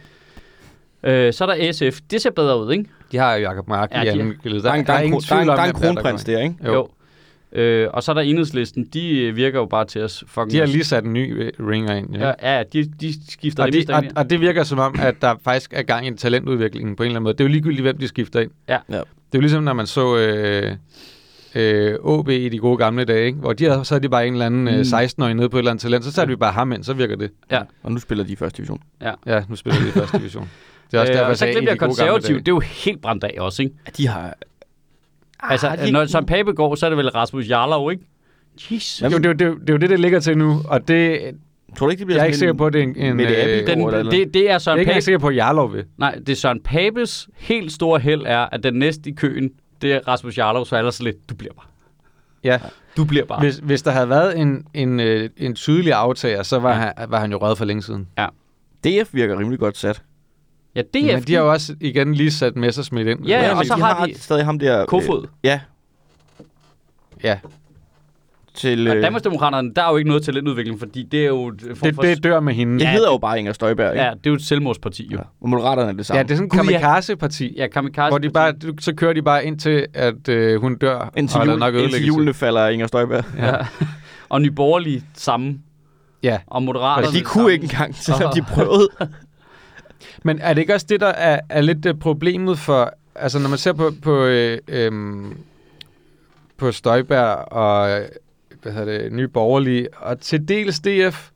S1: Øh, så er der SF. Det ser bedre ud, ikke?
S2: De har jo Jacob Mark
S1: Ja,
S2: i
S1: de-
S2: anden gilde.
S3: Der, er en- der, er en
S2: ingen
S3: kro- der, er en-
S2: tvivl om,
S3: der er en
S2: hvem der er, der
S3: kronprins
S2: kommer
S3: der, ikke?
S2: ind. Jo.
S1: Øh, og så er der enhedslisten. De øh, virker jo bare til os. Fucking
S2: De har lige sat en ny øh, ringer ind. Ja.
S1: Ja, ja de, de skifter
S2: Og,
S1: det
S2: de,
S1: meste
S2: og,
S1: ind i.
S2: og det virker som om, at der faktisk er gang i talentudviklingen på en eller anden måde. Det er jo ligegyldigt, hvem de skifter ind.
S1: Ja.
S3: Ja.
S2: Det er jo ligesom, når man så øh, øh, OB i de gode gamle dage, ikke? hvor de havde, så havde de bare en eller anden øh,
S1: Mm.
S2: 16-årig nede på et eller andet talent, så satte vi bare ham ind, så virker det.
S3: Og nu spiller de i første division.
S2: Ja, nu spiller vi i første division. Det er også
S1: Øh,
S2: derfor,
S1: og
S2: jeg
S1: så
S2: sagde, i
S1: glemte
S2: de
S1: jeg
S2: gode gamle
S1: konservativ.
S2: dage.
S1: Det er jo helt brændt af også, ikke?
S3: Ja, de har...
S1: Altså,
S3: Ah, de-
S1: når Søren Pape går, så er det vel Rasmus Jarlov, ikke? Jesus.
S2: Jo, det, er jo- det, er jo- det er jo det, det ligger til nu, og det,
S3: Tror du ikke, det bliver
S2: jeg er ikke sikker
S3: sådan
S2: på, at det er en... en
S3: Mette
S2: øh,
S3: Abildgaard
S2: jeg
S1: Den,
S3: over et eller andet.
S1: det, det er
S2: er
S1: Søren
S2: ikke engang
S1: Pape.
S2: sikker på, at Jarlov vil.
S1: Nej, det er Søren Papes helt store held er, at den næste i køen, det er Rasmus Jarlov, så er ellers lidt, du bliver bare.
S2: Ja,
S1: Du bliver bare.
S2: hvis, hvis der havde været en, en, øh, en tydelig aftager, så var,
S1: Ja.
S2: han, var han jo røget for længe siden.
S3: en- DF virker rimelig godt sat.
S1: Ja,
S2: Men
S1: DF,
S2: de har jo også igen lige sat Messersmith ind.
S1: Ja,
S3: men altså,
S1: og så
S3: de
S1: har
S3: har
S1: de-
S3: stadig ham der... øh,
S1: Kofod.
S3: Ja,
S2: ja.
S3: til...
S1: og
S3: Øh,
S1: Danmarksdemokraterne, der er jo ikke noget talentudvikling, fordi det er jo... et form
S2: Det,
S1: for-
S2: det dør med hende.
S3: det hedder jo bare Inger Støjberg, ikke?
S1: ja, det er jo et selvmordsparti, jo.
S3: Ja. Og Moderaterne er det samme.
S2: ja, det er sådan en
S1: Gud, ja.
S2: kamikaze-parti,
S1: Ja, kamikaze
S2: hvor de bare, så kører de bare ind til, at øh, hun dør,
S3: Indtil,
S2: og der er
S3: jul,
S2: nok
S3: indtil
S2: ødelæggelse.
S3: julene falder Inger Støjberg.
S1: Ja. og Nye Borgerlige samme,
S2: Ja.
S1: og Moderaterne
S3: Altså, de kunne
S1: samme.
S3: ikke engang, selvom de prøvede.
S2: Men er det ikke også det, der er, er lidt øh, problemet for... Altså, når man ser på, på, øh, øhm, på Støjberg og øh, hvad hedder det, Nye Borgerlige, og til dels DF,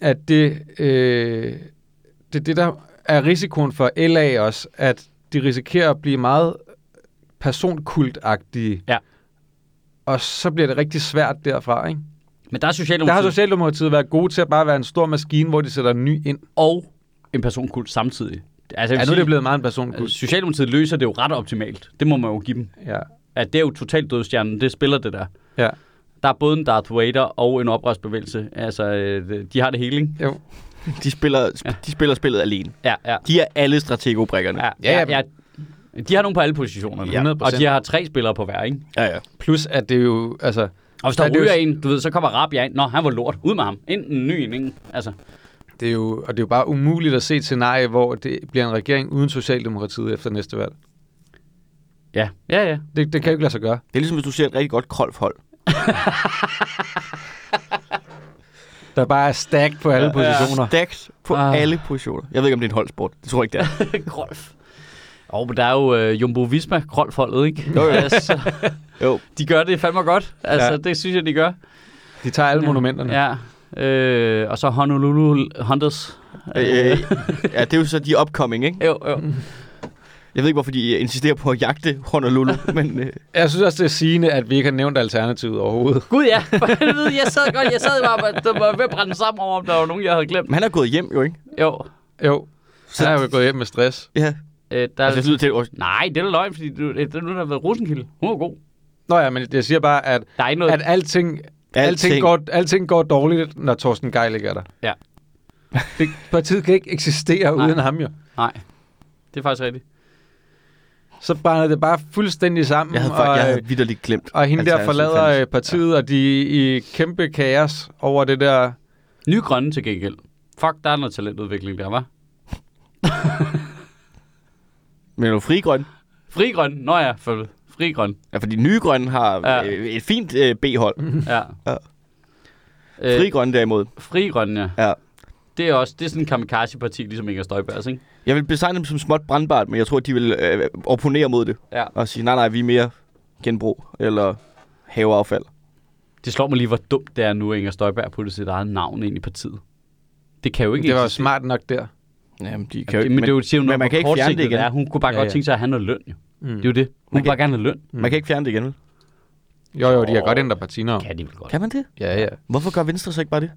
S2: at det, øh, det er det, der er risikoen for LA også, at de risikerer at blive meget personkultagtige.
S1: Ja.
S2: Og så bliver det rigtig svært derfra, ikke?
S1: Men der er
S2: Der har
S1: Socialdemokratiet
S2: Socialdemokratiet været gode til at bare være en stor maskine, hvor de sætter en ny ind.
S1: og en personkult samtidig. Altså, jeg vil
S2: Ja, nu er det
S1: sige,
S2: blevet meget en personkult.
S1: altså, Socialdemokratiet løser det jo ret optimalt. Det må man jo give dem.
S2: Ja.
S1: At det er jo totalt dødstjernen, det spiller det der.
S2: Ja.
S1: Der er både en Darth Vader og en oprørsbevægelse. Altså, øh, de har det hele, ikke?
S2: Jo.
S3: De spiller, sp- de spiller spillet alene.
S1: Ja, ja.
S3: De er alle strategobrikkerne.
S1: ja,
S2: Ja,
S1: ja, ja. De har nogen på alle positionerne.
S2: Ja, 100%.
S1: Og de har tre spillere på hver, ikke?
S3: ja. ja.
S2: Plus, at det er jo, altså,
S1: Og hvis
S2: Ja,
S1: der
S2: det er jo
S1: ryger
S2: s-
S1: en, du ved, så kommer Rabia ind. Nå, han var lort. Ud med ham. Ind en ny en, ikke? Altså,
S2: det er jo, og det er jo bare umuligt at se et scenarie, hvor det bliver en regering uden Socialdemokratiet efter næste valg.
S1: ja. Ja, ja.
S2: Det, det kan jo ikke lade sig gøre.
S3: Det er ligesom, hvis du ser et rigtig godt Krolf-hold.
S2: Der bare er stack på alle ja, positioner.
S3: Stacks på
S1: Ah.
S3: alle positioner. Jeg ved ikke, om det er en holdsport. Det tror jeg ikke, det er.
S1: Grolf. Og men der er jo øh, Jumbo Visma, Grolf-holdet, ikke?
S3: Jo, jo.
S1: altså,
S3: Jo.
S1: de gør det fandme godt. Altså,
S2: Ja.
S1: ja. det synes jeg, de gør.
S2: De tager alle ja. monumenterne. Ja.
S1: Ja. Øh, og så Honolulu Hunters.
S3: Øh, ja, det er jo så de upcoming, ikke?
S1: Jo, jo.
S3: Jeg ved ikke, hvorfor de øh, insisterer på at jagte Honolulu, men øh,
S2: Jeg synes også, det er sigende, at vi ikke har nævnt alternativet overhovedet.
S1: Gud ja, for helvede, jeg sad godt, jeg sad bare, og- der var ved at brænde sammen over, om der var nogen, jeg havde glemt.
S3: men han er gået hjem jo, ikke?
S1: Jo,
S2: Jo, så
S3: Så-
S2: er jo gået hjem med stress.
S3: Ja.
S1: øh, der
S3: Altså, det lyder til, at
S1: Nej, det er da løgn, fordi du, det er nu, der har været Rosenkilde. Hun er god.
S2: Nå ja, men jeg siger bare, at,
S1: Der er ikke noget...
S2: at alting, alting.
S3: Alting.
S2: Alting, går, alting går dårligt, når Torsten Geil ikke er der.
S1: Ja.
S2: Det, partiet kan ikke eksistere
S1: Nej.
S2: uden ham jo.
S1: Nej, det er faktisk rigtigt.
S2: Så brænder det bare fuldstændig sammen.
S3: jeg havde,
S2: og,
S3: fa- jeg
S2: øh,
S3: havde vidderligt glemt.
S2: Og hende der
S3: Alternativet
S2: forlader øh,
S3: fandtes.
S2: partiet, ja. og de er i kæmpe kaos over det der...
S1: Nye grønne til gengæld. Fuck, der er noget talentudvikling der, var.
S2: øh,
S3: Men jo frigrøn.
S1: Fri grøn. Nå ja, for fri grøn.
S3: Ja, fordi nye grønne har
S1: Ja.
S3: øh, et fint øh, B-hold.
S1: Ja.
S3: Ja.
S1: Øh,
S3: Fri grønne derimod.
S1: fri grøn, ja.
S3: Ja.
S1: Det er også det er sådan en kamikaze-parti, ligesom Inger Støjbergs, ikke?
S3: Jeg vil betegne dem som småt brandbart, men jeg tror, de vil øh, opponere mod det.
S1: Ja.
S3: Og sige, nej, nej, vi er mere genbrug eller haveaffald.
S1: Det slår mig lige, hvor dumt det er nu, at Inger Støjberg putter sit eget navn ind i partiet. det kan jo ikke
S2: Det var jo
S1: eksistere.
S2: smart nok der.
S3: Jamen, de
S1: Jamen,
S3: kan jo
S1: det,
S3: ikke,
S1: men, det er jo siger,
S3: men
S1: når
S3: man kan ikke fjerne det igen.
S1: Er. Hun kunne bare
S2: Ja,
S1: ja, godt
S2: ja.
S1: tænke sig at have noget løn, jo.
S2: Mm.
S1: Det er jo det. Hun
S3: Man
S1: kunne
S3: kan-
S1: bare gerne have løn.
S3: man kan ikke fjerne det igen, vel?
S2: Jo, jo, de har
S1: Åh.
S2: godt ændret partiner.
S1: Kan de vel godt.
S3: Kan man det?
S2: Ja, ja.
S3: Hvorfor gør Venstre så ikke bare det?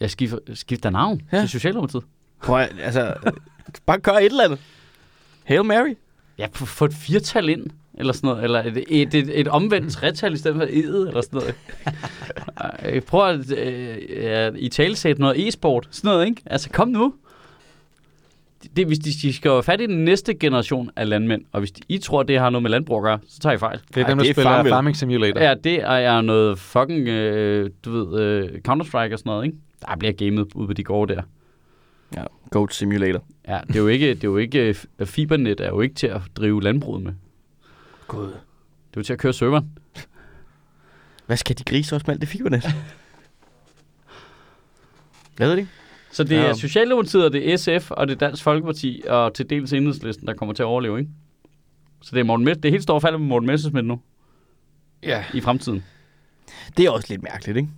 S1: Jeg skifter, skifter navn
S3: Ja.
S1: ja. til Socialdemokratiet.
S3: Prøv at, altså, bare gør et eller andet. Hail Mary.
S1: Ja, få- få et firtal ind, eller sådan noget. Eller et, et, et, et
S2: Mm.
S1: omvendt tretal i stedet for edet, eller sådan noget. Ej, Prøv at øh, i talesæt noget e-sport. Sådan noget, ikke? Altså, kom nu. Det, det- hvis de, de skal jo have fat i den næste generation af landmænd, og hvis de, I tror, det har noget med landbrug at gøre, så tager I fejl.
S2: Det er
S3: Ej,
S2: dem, der
S3: det er
S2: spiller
S3: Farmville.
S2: Farming Simulator.
S1: Ja, det er jeg noget fucking, øh, du ved, øh, Counter-Strike og sådan noget, ikke? Der bliver gamet ude på de gårde der.
S3: Ja, Goat Simulator.
S1: Ja, det er jo ikke, det er jo ikke, øh, fibernet er jo ikke til at drive landbruget med.
S3: God.
S1: Det er jo til at køre serveren.
S3: Hvad skal de grise også med alt det fibernet? Jeg ved det ikke.
S1: Så det
S3: Ja.
S1: er Socialdemokratiet, og det er SF, og det er Dansk Folkeparti, og til dels Enhedslisten, der kommer til at overleve, ikke? Så det er Morten Mess- det er helt stort fald med Morten Messerschmidt nu,
S2: ja.
S1: i fremtiden.
S3: Det er også lidt mærkeligt, ikke?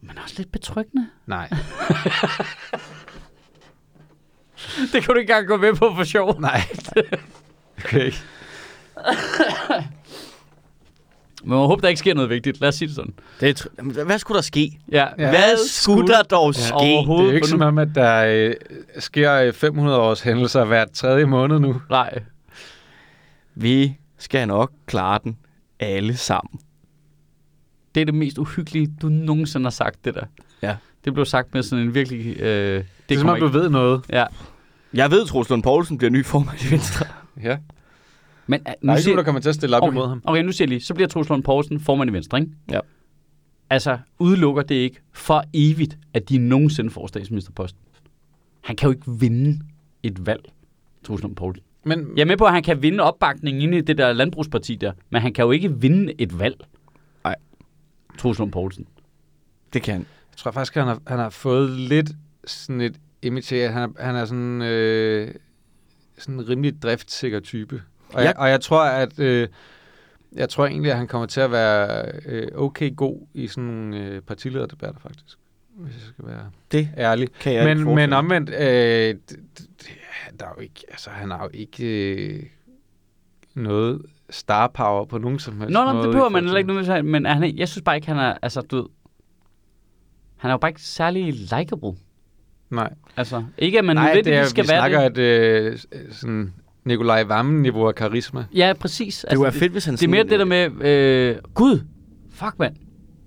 S1: Men også lidt betryggende.
S2: Nej.
S1: Det kan du ikke engang gå med på for sjov.
S2: Nej. okay.
S1: Men jeg håber, der ikke sker noget vigtigt. Lad os sige det sådan.
S3: Det er tr- Jamen, hvad skulle der ske?
S1: Ja,
S2: Ja.
S3: Hvad skulle der dog ske?
S1: overhovedet?
S2: Det er jo ikke som om, at der øh, sker øh, 500 års hændelser hver tredje måned nu.
S1: Nej.
S3: Vi skal nok klare den alle sammen.
S1: Det er det mest uhyggelige, du nogensinde har sagt, det der.
S3: Ja.
S1: Det blev sagt med sådan en virkelig... Øh, det,
S2: Det er som
S1: kommer
S2: om, du
S1: ikke.
S2: ved noget.
S1: Ja.
S3: Jeg ved, Troels Lund Poulsen bliver ny formand i Venstre.
S2: Ja.
S1: Men, uh,
S2: Der
S1: nu
S2: er ikke
S1: siger,
S2: nogen, der kommer til at stille op okay. imod ham.
S1: okay, nu siger jeg lige. Så bliver Truls Lund Poulsen formand i Venstre, ikke?
S3: Ja.
S1: Altså, udelukker det ikke for evigt, at de nogensinde får statsministerposten? Han kan jo ikke vinde et valg, Truls Lund Poulsen.
S2: Men
S1: Jeg er med på, at han kan vinde opbakningen inde i det der landbrugsparti der, men han kan jo ikke vinde et valg.
S3: Nej.
S1: Truls Lund Poulsen.
S3: Det kan han.
S2: jeg tror faktisk, han har, han har fået lidt sådan et imitere. Han er, han er sådan, øh, sådan en rimelig driftsikker type. Og,
S3: Ja.
S2: jeg, og jeg tror, at... Øh, jeg tror egentlig, at han kommer til at være øh, okay god i sådan nogle øh, partilederdebatter, faktisk. Hvis jeg skal være
S3: Det
S2: ærlig.
S3: kan jeg ikke
S2: Men,
S3: forestille
S2: men
S3: mig.
S2: omvendt, øh, det, det, det- der er jo ikke, altså, han har jo ikke øh, noget star power på nogen som helst
S1: Nå, nej,
S2: måde.
S1: det
S2: i
S1: behøver man
S2: forhold
S1: heller ikke
S2: til-
S1: nødvendigvis. Men er han, ikke- jeg synes bare ikke, han er, altså, du ved, han er jo bare ikke særlig likeable.
S2: Nej,
S1: Altså, ikke at man
S2: nej det er,
S1: nødvendigvis
S2: skal vi
S1: skal være
S2: snakker
S1: det.
S2: et øh, sådan Nikolaj Vammen-niveau af karisma.
S1: Ja, præcis.
S3: Det
S1: Altså,
S3: var fedt, hvis han
S1: det, det er mere det der med, øh, gud, fuck mand,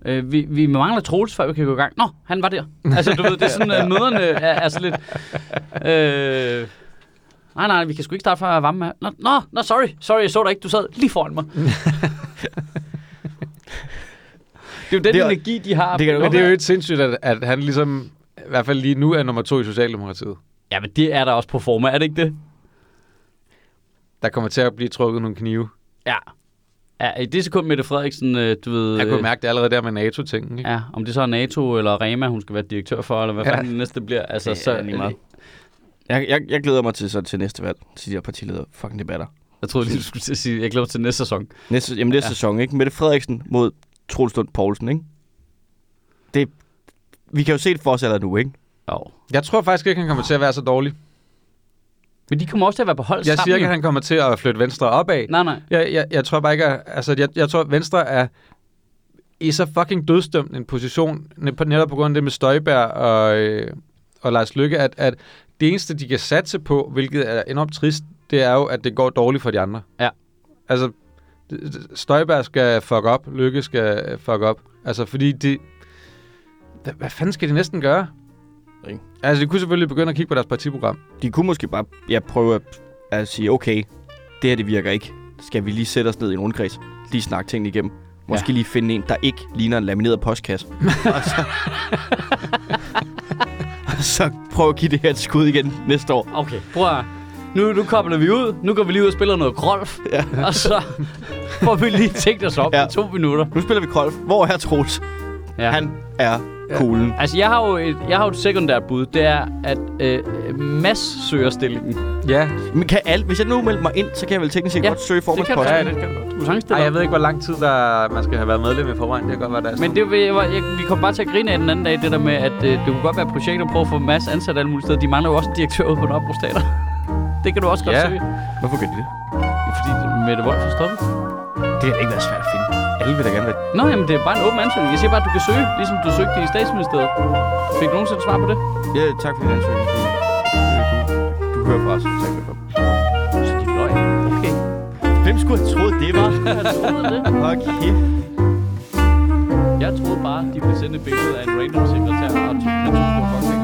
S1: øh, vi, vi mangler Troels, før vi kan gå i gang. Nå, han var der. Altså, du ved, det er sådan, at møderne er, er sådan lidt... Øh, nej, nej, vi kan sgu ikke starte fra varme. Nå, nå, nå, sorry, sorry, jeg så dig ikke, du sad lige foran mig. det er jo den
S3: Det er-
S1: energi, de har.
S3: det kan du
S2: Men det er jo ikke sindssygt, at, at han ligesom, i hvert fald lige nu, er nummer to i Socialdemokratiet.
S1: Ja, men det er der også på forma, er det ikke det?
S2: Der kommer til at blive trukket nogle knive.
S1: Ja. ja I det sekund, Mette Frederiksen, øh, du ved...
S2: Jeg
S1: øh,
S2: kunne mærke det allerede der med NATO-tingen. Ikke?
S1: Ja, om det så er NATO eller Rema, hun skal være direktør for, eller hvad
S2: Ja.
S1: ja. fanden det næste bliver. Altså,
S3: Det er
S1: så,
S3: lige meget. Jeg, jeg, jeg glæder mig til, så, til næste valg, til de her partileder fucking debatter.
S1: Jeg troede lige, du skulle til at sige, jeg glæder mig til næste sæson.
S3: Næste, jamen næste ja. sæson, ikke? Mette Frederiksen mod Troels Lund Poulsen, ikke? Det, vi kan jo se det for os allerede nu, ikke?
S1: Jo.
S2: Jeg tror faktisk ikke, han kommer til at være så dårlig.
S1: Men de kommer også til at være på hold
S2: Jeg
S1: sammen.
S2: siger ikke, at
S1: jo.
S2: han kommer til at flytte venstre opad.
S1: Nej, nej.
S2: Jeg, jeg, jeg tror bare ikke, at, altså, jeg, jeg tror, at Venstre er i så fucking dødsdømt en position, ne- på- netop på grund af det med Støjberg og, øh, og Lars Lykke, at, at det eneste, de kan satse på, hvilket er enormt trist, det er jo, at det går dårligt for de andre.
S1: Ja.
S2: Altså, det- det- Støjberg skal fuck op, Lykke skal øh, fuck op. Altså, fordi de... Hvad, hvad fanden skal de næsten gøre?
S3: Ikke.
S2: Altså, de kunne selvfølgelig begynde at kigge på deres partiprogram.
S3: De kunne måske bare ja, prøve at, at sige, okay, det her det virker ikke. Skal vi lige sætte os ned i en rundkreds? Lige snakke tingene igennem. Måske ja. lige finde en, der ikke ligner en lamineret postkasse. og, så, og så prøve at give det her et skud igen næste år.
S1: Okay, prøv at... Nu, nu kobler vi ud. Nu går vi lige ud og spiller noget golf. Ja. Og så får vi lige tænkt os op ja.
S3: Ja.
S1: i to minutter.
S3: Nu spiller vi golf. Hvor er Troels?
S1: Ja.
S3: Han er kuglen.
S1: Altså, jeg har jo et, jeg har jo et sekundært bud. Det er, at øh, Mads søger stillingen.
S2: Ja,
S3: Men kan alt, hvis jeg nu melder mig ind, så kan jeg vel teknisk set
S1: Ja,
S3: godt søge
S1: Det kan du
S3: formandsposten.
S2: Ja,
S1: godt.
S2: det
S1: det kan du godt. Du er
S2: Ej,
S1: sangstiller.
S2: jeg ved ikke, hvor lang tid der man skal have været medlem i forvejen. Det kan godt være, der er
S1: Men det, var- jeg, var- jeg, vi kom bare til at grine af den anden dag, det der med, at øh, det kunne godt være projekter på at få masser ansat alle mulige steder. De mangler jo også en direktør ude på Nørrebro Stater. det kan du også godt
S2: Ja.
S1: søge.
S3: Hvorfor gør de det?
S1: Fordi Mette Wolf er stoppet.
S3: Det kan da ikke være svært at finde. Alle vil da gerne være...
S1: Nå, jamen det er bare en åben ansøgning. Jeg siger bare, at du kan søge, ligesom du søgte i statsministeriet. Fik du nogensinde svar på det?
S3: Ja, tak for din ansøgning. Du, du, du hører fra os. Tak for det.
S1: Så de løg. Okay.
S3: Hvem skulle have troet det, var?
S1: Jeg troede det.
S3: Fuck kæft.
S1: Jeg troede bare, de ville sende et billede af en random sekretær og tykke natur på fucking